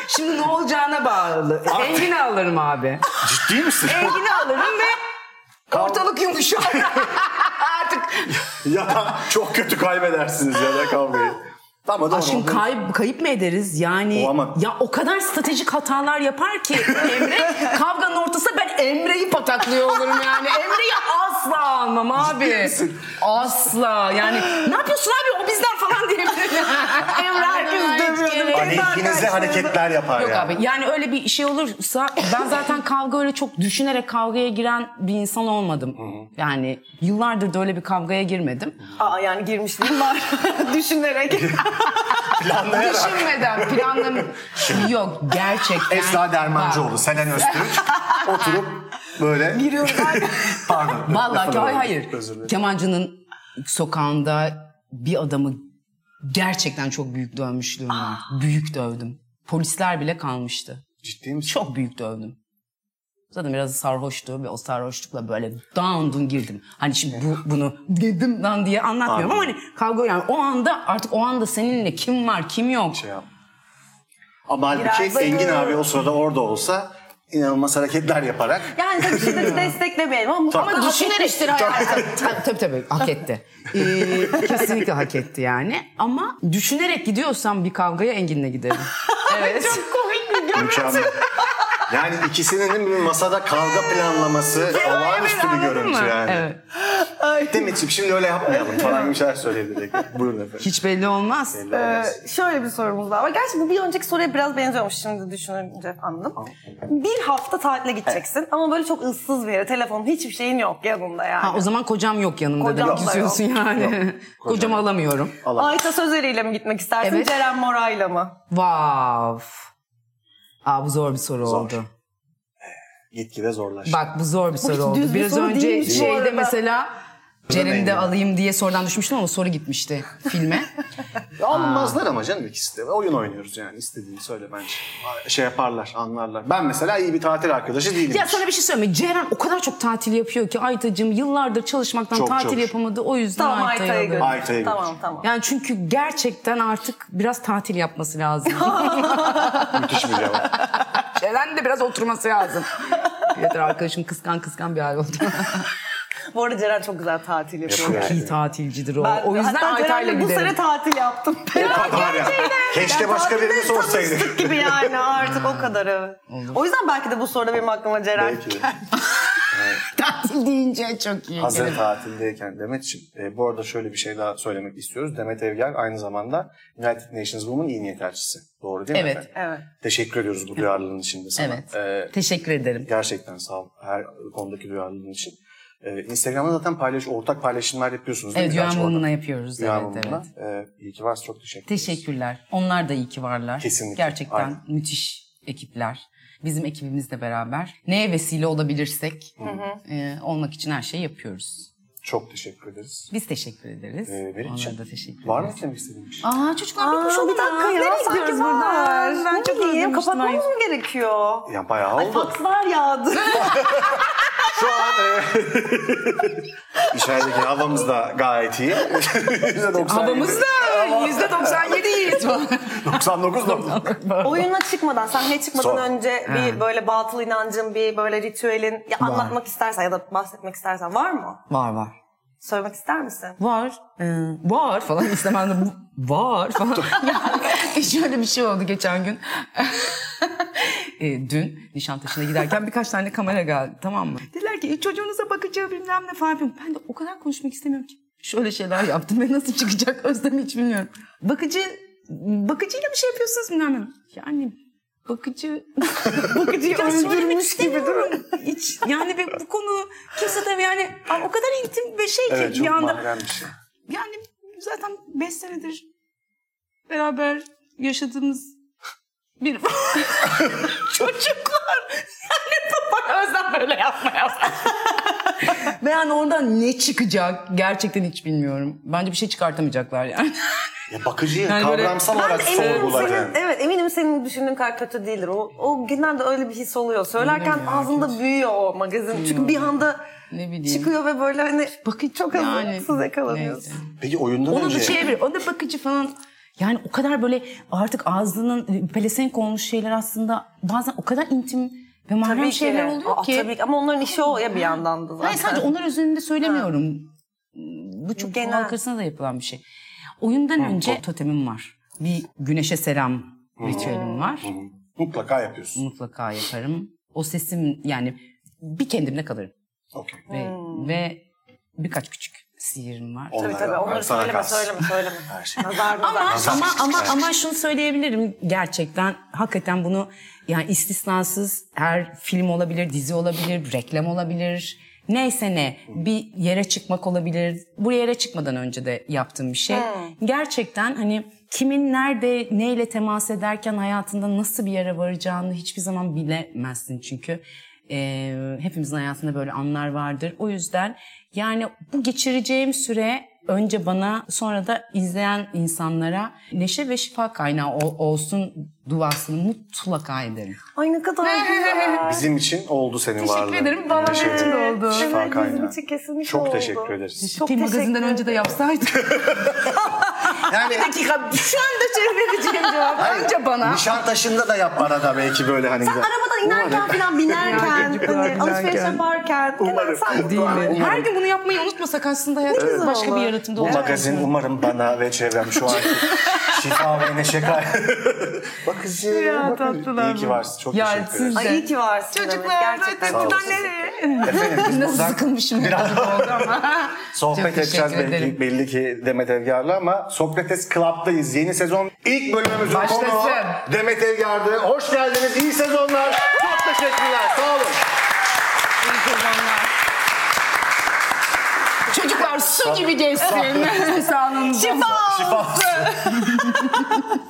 [SPEAKER 4] Şimdi ne olacağına bağlı. Engin alırım abi.
[SPEAKER 2] Ciddi misin?
[SPEAKER 4] Engin alırım ve ortalık yumuşar. Artık.
[SPEAKER 2] ya da çok kötü kaybedersiniz ya da kavgayı. Ama doğru.
[SPEAKER 4] Aşkım
[SPEAKER 2] oldu.
[SPEAKER 4] kayıp, kayıp mı ederiz? Yani
[SPEAKER 2] O ama-
[SPEAKER 4] ya o kadar stratejik hatalar yapar ki Emre. kavganın ortasında ben Emre'yi pataklıyor olurum yani. Emre'yi asla almam abi. Asla. Yani ne yapıyorsun abi o bizden falan diyebilirim. Emre herkes dövüyordu.
[SPEAKER 2] Aleyhinize Hani hareketler yapar
[SPEAKER 4] Yok
[SPEAKER 2] yani.
[SPEAKER 4] abi yani öyle bir şey olursa ben zaten kavga öyle çok düşünerek kavgaya giren bir insan olmadım. Yani yıllardır da öyle bir kavgaya girmedim.
[SPEAKER 3] Aa yani girmişliğim var düşünerek.
[SPEAKER 2] Planlayarak.
[SPEAKER 4] Düşünmeden planlam yok gerçekten.
[SPEAKER 2] Esra Dermancıoğlu, Selen Öztürk oturup böyle... Giriyoruz Pardon.
[SPEAKER 4] Vallahi
[SPEAKER 2] lafını
[SPEAKER 4] ki hayır
[SPEAKER 2] böldüm.
[SPEAKER 4] hayır.
[SPEAKER 2] Özür dilerim.
[SPEAKER 4] Kemancının sokağında bir adamı gerçekten çok büyük dövmüşlüğüm var.
[SPEAKER 2] Ah.
[SPEAKER 4] Büyük dövdüm. Polisler bile kalmıştı.
[SPEAKER 2] Ciddi misin?
[SPEAKER 4] Çok büyük dövdüm. Zaten biraz sarhoştu ve o sarhoşlukla böyle down dun girdim. Hani şimdi bu, bunu dedim lan diye anlatmıyorum ama hani kavga yani o anda artık o anda seninle kim var kim yok.
[SPEAKER 2] şey yap. Ama halbuki
[SPEAKER 3] Biraz-
[SPEAKER 2] Engin abi o sırada orada olsa inanılmaz hareketler yaparak
[SPEAKER 3] Yani tabii şimdi desteklemeyelim ama
[SPEAKER 2] Tamam.
[SPEAKER 4] Ama
[SPEAKER 3] hak
[SPEAKER 4] düşünerek
[SPEAKER 3] etmiştir
[SPEAKER 4] hayatım. tabii tabii tabii hak etti. Ee, kesinlikle hak etti yani. Ama düşünerek gidiyorsam bir kavgaya Engin'le giderim. Evet.
[SPEAKER 2] mükemmel. Yani ikisinin bir masada kavga planlaması olağanüstü bir
[SPEAKER 4] Anladın
[SPEAKER 2] görüntü
[SPEAKER 4] mı?
[SPEAKER 2] yani.
[SPEAKER 4] Evet.
[SPEAKER 2] Demet'ciğim şimdi öyle yapmayalım falan gibi şeyler söyleyebilir. Buyurun efendim.
[SPEAKER 4] Hiç e, belli olmaz.
[SPEAKER 3] Ee, şöyle bir sorumuz daha var. Gerçi bu bir önceki soruya biraz benziyormuş şimdi düşününce anladım. Bir hafta tatile gideceksin ama böyle çok ıssız bir yere. Telefonun hiçbir şeyin yok yanında yani.
[SPEAKER 4] Ha, o zaman kocam yok yanımda
[SPEAKER 3] Kocam
[SPEAKER 4] demek
[SPEAKER 3] da
[SPEAKER 4] istiyorsun yani.
[SPEAKER 2] Kocam
[SPEAKER 4] Kocamı alamıyorum.
[SPEAKER 2] Allah.
[SPEAKER 3] Ayta Sözeri ile mi gitmek istersin?
[SPEAKER 4] Evet.
[SPEAKER 3] Ceren Moray'la mı?
[SPEAKER 4] Vav. Aa bu zor bir soru
[SPEAKER 2] Zor.
[SPEAKER 4] oldu.
[SPEAKER 2] Gitgide zorlaştı.
[SPEAKER 4] Bak bu zor bir soru
[SPEAKER 3] hiç
[SPEAKER 4] oldu.
[SPEAKER 3] düz bir
[SPEAKER 4] Biraz
[SPEAKER 3] soru
[SPEAKER 4] önce
[SPEAKER 3] değilmiş bu
[SPEAKER 4] şeyde
[SPEAKER 3] arada.
[SPEAKER 4] mesela Ceren'i
[SPEAKER 2] Engin.
[SPEAKER 4] de alayım diye sorudan düşmüştüm ama soru gitmişti filme.
[SPEAKER 2] Alınmazlar ama canım ikisi de. Oyun oynuyoruz yani. istediğini söyle bence. Şey yaparlar, anlarlar. Ben mesela iyi bir tatil arkadaşı değilim.
[SPEAKER 4] ya sana bir şey söyleyeyim. mi? Ceren o kadar çok tatil yapıyor ki Aytacığım yıllardır çalışmaktan
[SPEAKER 2] Çok,
[SPEAKER 4] tatil
[SPEAKER 2] çok.
[SPEAKER 4] yapamadı. O yüzden
[SPEAKER 3] Tamam
[SPEAKER 4] Ayta'yı
[SPEAKER 3] Ayta'ya göre.
[SPEAKER 4] alıyorum.
[SPEAKER 2] Ayta'ya göre.
[SPEAKER 3] Tamam tamam.
[SPEAKER 4] Yani çünkü gerçekten artık biraz tatil yapması lazım.
[SPEAKER 2] Müthiş bir cevap.
[SPEAKER 4] Ceren de biraz oturması lazım. Yeter arkadaşım kıskan kıskan bir hal oldu.
[SPEAKER 3] Bu arada Ceren çok güzel tatil yapıyor.
[SPEAKER 2] Yapıyor.
[SPEAKER 3] Ben-
[SPEAKER 4] Çok iyi tatilcidir o. o
[SPEAKER 3] hatta
[SPEAKER 4] yüzden Ayta'yla
[SPEAKER 3] Ceren'le bu
[SPEAKER 4] giderim.
[SPEAKER 3] sene tatil yaptım.
[SPEAKER 2] O kadar ya. Keşke
[SPEAKER 3] Ya
[SPEAKER 2] başka
[SPEAKER 3] tatilde
[SPEAKER 2] birini sorsaydık.
[SPEAKER 3] tanıştık gibi yani artık o kadarı. O yüzden belki de bu soruda benim aklıma Ceren.
[SPEAKER 2] Belki.
[SPEAKER 4] Tatil deyince çok iyi.
[SPEAKER 2] Hazır tatildeyken Demet'ciğim. E, bu arada şöyle bir şey daha söylemek istiyoruz. Demet Evgen aynı zamanda United Nations Women iyi niyet elçisi. Doğru değil mi
[SPEAKER 4] Evet.
[SPEAKER 2] efendim?
[SPEAKER 3] Evet.
[SPEAKER 2] Teşekkür ediyoruz bu duyarlılığın için de sana.
[SPEAKER 4] Evet.
[SPEAKER 2] E,
[SPEAKER 4] Teşekkür ederim.
[SPEAKER 2] gerçekten sağ ol her konudaki duyarlılığın için. E, Instagram'da zaten paylaş, ortak paylaşımlar yapıyorsunuz değil
[SPEAKER 4] Evet
[SPEAKER 2] mi? Gerçi orada-
[SPEAKER 4] Yuan yapıyoruz.
[SPEAKER 2] Güven
[SPEAKER 4] evet,
[SPEAKER 2] Mumlu'na.
[SPEAKER 4] evet.
[SPEAKER 2] E, iyi ki varsın. Çok teşekkür ederiz.
[SPEAKER 4] Teşekkürler. Onlar da iyi ki varlar.
[SPEAKER 2] Kesinlikle,
[SPEAKER 4] Gerçekten
[SPEAKER 2] aynen.
[SPEAKER 4] müthiş ekipler. Bizim ekibimizle beraber neye vesile olabilirsek e, olmak için her şeyi yapıyoruz.
[SPEAKER 2] Çok teşekkür ederiz.
[SPEAKER 4] Biz teşekkür ederiz.
[SPEAKER 2] Ee, benim için.
[SPEAKER 4] Onlara da teşekkür
[SPEAKER 2] Var mı
[SPEAKER 4] ederiz.
[SPEAKER 2] demek istediğin bir şey?
[SPEAKER 4] Aa çocuklar
[SPEAKER 3] Aa,
[SPEAKER 4] bitmiş oldu
[SPEAKER 3] bir dakika
[SPEAKER 4] lan.
[SPEAKER 3] ya.
[SPEAKER 4] Nereye
[SPEAKER 3] sanki
[SPEAKER 4] gidiyoruz
[SPEAKER 3] var.
[SPEAKER 4] buradan? Ben
[SPEAKER 3] Ne
[SPEAKER 4] çok
[SPEAKER 3] bileyim,
[SPEAKER 4] özlemiştim.
[SPEAKER 3] Kapatmamız mı gerekiyor?
[SPEAKER 2] Ya bayağı oldu.
[SPEAKER 3] Fakslar yağdı.
[SPEAKER 2] Şu an e, içerideki havamız da gayet iyi. %97.
[SPEAKER 4] Havamız da yüzde 97 yiğit var.
[SPEAKER 2] 99 nokta.
[SPEAKER 3] Oyuna çıkmadan, sahneye çıkmadan
[SPEAKER 2] Son.
[SPEAKER 3] önce bir böyle batıl inancın, bir böyle ritüelin ya anlatmak istersen ya da bahsetmek istersen var mı?
[SPEAKER 4] Var var.
[SPEAKER 3] Söylemek ister misin?
[SPEAKER 4] var, e, var falan istemem de bu- var falan. yani şöyle bir şey oldu geçen gün. e, dün Nişantaşı'na giderken birkaç tane kamera geldi tamam mı? Dediler ki "E, çocuğunuza bakacağı bilmem ne falan yapıyorum. Ben de o kadar konuşmak istemiyorum ki. Şöyle şeyler yaptım ve nasıl çıkacak Özlem hiç bilmiyorum. Bakıcı, bakıcıyla bir şey yapıyorsunuz bilmem ne. Yani bakıcı bakıcıyı öldürmüş gibi durum. Hiç, yani bir- bu konu kimse tabii yani a- o kadar intim ve şey ki
[SPEAKER 2] Evet çok
[SPEAKER 4] bir anda
[SPEAKER 2] mahrem bir şey.
[SPEAKER 4] yani zaten 5 senedir beraber yaşadığımız bir çocuklar. Yani bak Özlem böyle yapmaya başladı. Ve yani oradan ne çıkacak gerçekten hiç bilmiyorum. Bence bir şey çıkartamayacaklar yani.
[SPEAKER 2] Ya bakıcıyı
[SPEAKER 4] Yani böyle-
[SPEAKER 2] kavramsal
[SPEAKER 4] Ben
[SPEAKER 2] olarak
[SPEAKER 4] eminim
[SPEAKER 2] sorguladı.
[SPEAKER 3] Senin- evet eminim senin düşündüğün kadar kötü değildir. O, o genelde öyle bir his oluyor. Söylerken
[SPEAKER 4] Bilmiyorum ya,
[SPEAKER 3] ağzında büyüyor o magazin. Çünkü bir anda
[SPEAKER 4] Ne bileyim.
[SPEAKER 3] çıkıyor ve böyle hani
[SPEAKER 4] Bakın
[SPEAKER 3] çok hazırlıksız yakalanıyorsun.
[SPEAKER 4] neyse.
[SPEAKER 2] Peki oyundan
[SPEAKER 4] Onu
[SPEAKER 2] önce...
[SPEAKER 4] da çevir. O da bakıcı falan. Yani o kadar böyle artık ağzının e, pelesenk olmuş şeyler aslında bazen o kadar intim ve
[SPEAKER 3] Tabii
[SPEAKER 4] mahrem
[SPEAKER 3] ki.
[SPEAKER 4] şeyler oluyor
[SPEAKER 3] Aa,
[SPEAKER 4] ki.
[SPEAKER 3] Tabii ki. Ama onların işi o ya bir yandan da zaten.
[SPEAKER 4] Hayır sadece onlar üzerinde söylemiyorum. Bu çok
[SPEAKER 3] Genel.
[SPEAKER 4] halk arasında da yapılan bir şey. Oyundan önce totemim var. Bir güneşe selam ritüelim var.
[SPEAKER 2] Mutlaka yapıyorsun.
[SPEAKER 4] Mutlaka yaparım. O sesim yani bir kendimle kalırım.
[SPEAKER 2] Okey.
[SPEAKER 4] Ve, ve birkaç küçük sihirim var.
[SPEAKER 2] Onlar-
[SPEAKER 3] Tabii tabii onları
[SPEAKER 2] sana
[SPEAKER 3] söyleme,
[SPEAKER 2] kalsın.
[SPEAKER 3] söyleme söyleme
[SPEAKER 2] Her şey.
[SPEAKER 3] Nazar
[SPEAKER 4] Ama
[SPEAKER 3] nazar.
[SPEAKER 2] Nazar.
[SPEAKER 4] ama ama ama şunu söyleyebilirim gerçekten hakikaten bunu yani istisnasız her film olabilir, dizi olabilir, reklam olabilir. Neyse ne bir yere çıkmak olabilir. Bu yere çıkmadan önce de yaptığım bir şey. Gerçekten hani kimin nerede neyle temas ederken hayatında nasıl bir yere varacağını hiçbir zaman bilemezsin çünkü. Ee, hepimizin hayatında böyle anlar vardır. O yüzden yani bu geçireceğim süre önce bana sonra da izleyen insanlara neşe ve şifa kaynağı ol- olsun duasını mutlaka ederim.
[SPEAKER 3] Ay ne kadar güzel.
[SPEAKER 2] Bizim için oldu senin
[SPEAKER 4] Teşekkür
[SPEAKER 2] varlığın.
[SPEAKER 4] ederim, bana
[SPEAKER 2] Neşe,
[SPEAKER 4] için de oldu.
[SPEAKER 2] Şifa
[SPEAKER 3] Evet, bizim
[SPEAKER 2] kaynağı.
[SPEAKER 3] için kesinlikle
[SPEAKER 2] Çok
[SPEAKER 3] oldu.
[SPEAKER 2] teşekkür ederiz.
[SPEAKER 4] Çok magazinden önce de yapsaydık.
[SPEAKER 2] Yani
[SPEAKER 4] dakika şu anda çevireceğim cevap.
[SPEAKER 2] hayır,
[SPEAKER 4] Önce bana.
[SPEAKER 2] Nişantaşı'nda da yap arada belki böyle hani. güzel.
[SPEAKER 3] Arabadan inerken
[SPEAKER 2] Umarım.
[SPEAKER 3] falan binerken, hani alışveriş yaparken. Umarım. Sen
[SPEAKER 2] şey
[SPEAKER 3] Değil
[SPEAKER 4] Her gün bunu yapmayı unutmasak aslında hayatımız başka bir yaratımda
[SPEAKER 2] Bu
[SPEAKER 4] olacak.
[SPEAKER 2] magazin umarım bana ve çevrem şu anki şifa ve neşe kay. bakıcı, bakıcı. İyi ki varsın. Çok
[SPEAKER 4] Ya
[SPEAKER 2] teşekkür ederim.
[SPEAKER 4] siz-
[SPEAKER 3] Ay iyi ki varsın. demek.
[SPEAKER 4] Çocuklar
[SPEAKER 3] Gerçekten
[SPEAKER 2] Sağ
[SPEAKER 4] buradan
[SPEAKER 2] olsun.
[SPEAKER 4] nereye?
[SPEAKER 2] Efendim biz
[SPEAKER 4] Nasıl
[SPEAKER 2] buradan
[SPEAKER 4] sıkılmışım biraz oldu ama. Çok
[SPEAKER 2] sohbet
[SPEAKER 4] teşekkür
[SPEAKER 2] edeceğiz belli,
[SPEAKER 4] ederim.
[SPEAKER 2] belli ki Demet Evgar'la ama Sokrates Club'dayız. Yeni sezon ilk bölümümüzün konuğu
[SPEAKER 4] Başlasın.
[SPEAKER 2] Demet Evgar'dı. Hoş geldiniz. İyi sezonlar. Çok teşekkürler. Sağ olun.
[SPEAKER 4] İyi sezonlar. Çocuklar su gibi geçsin. Sağlığınıza.
[SPEAKER 2] Şifa olsun.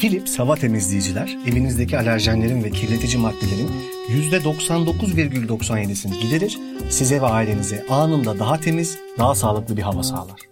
[SPEAKER 6] Philips hava temizleyiciler evinizdeki alerjenlerin ve kirletici maddelerin %99,97'sini giderir, size ve ailenize anında daha temiz, daha sağlıklı bir hava sağlar.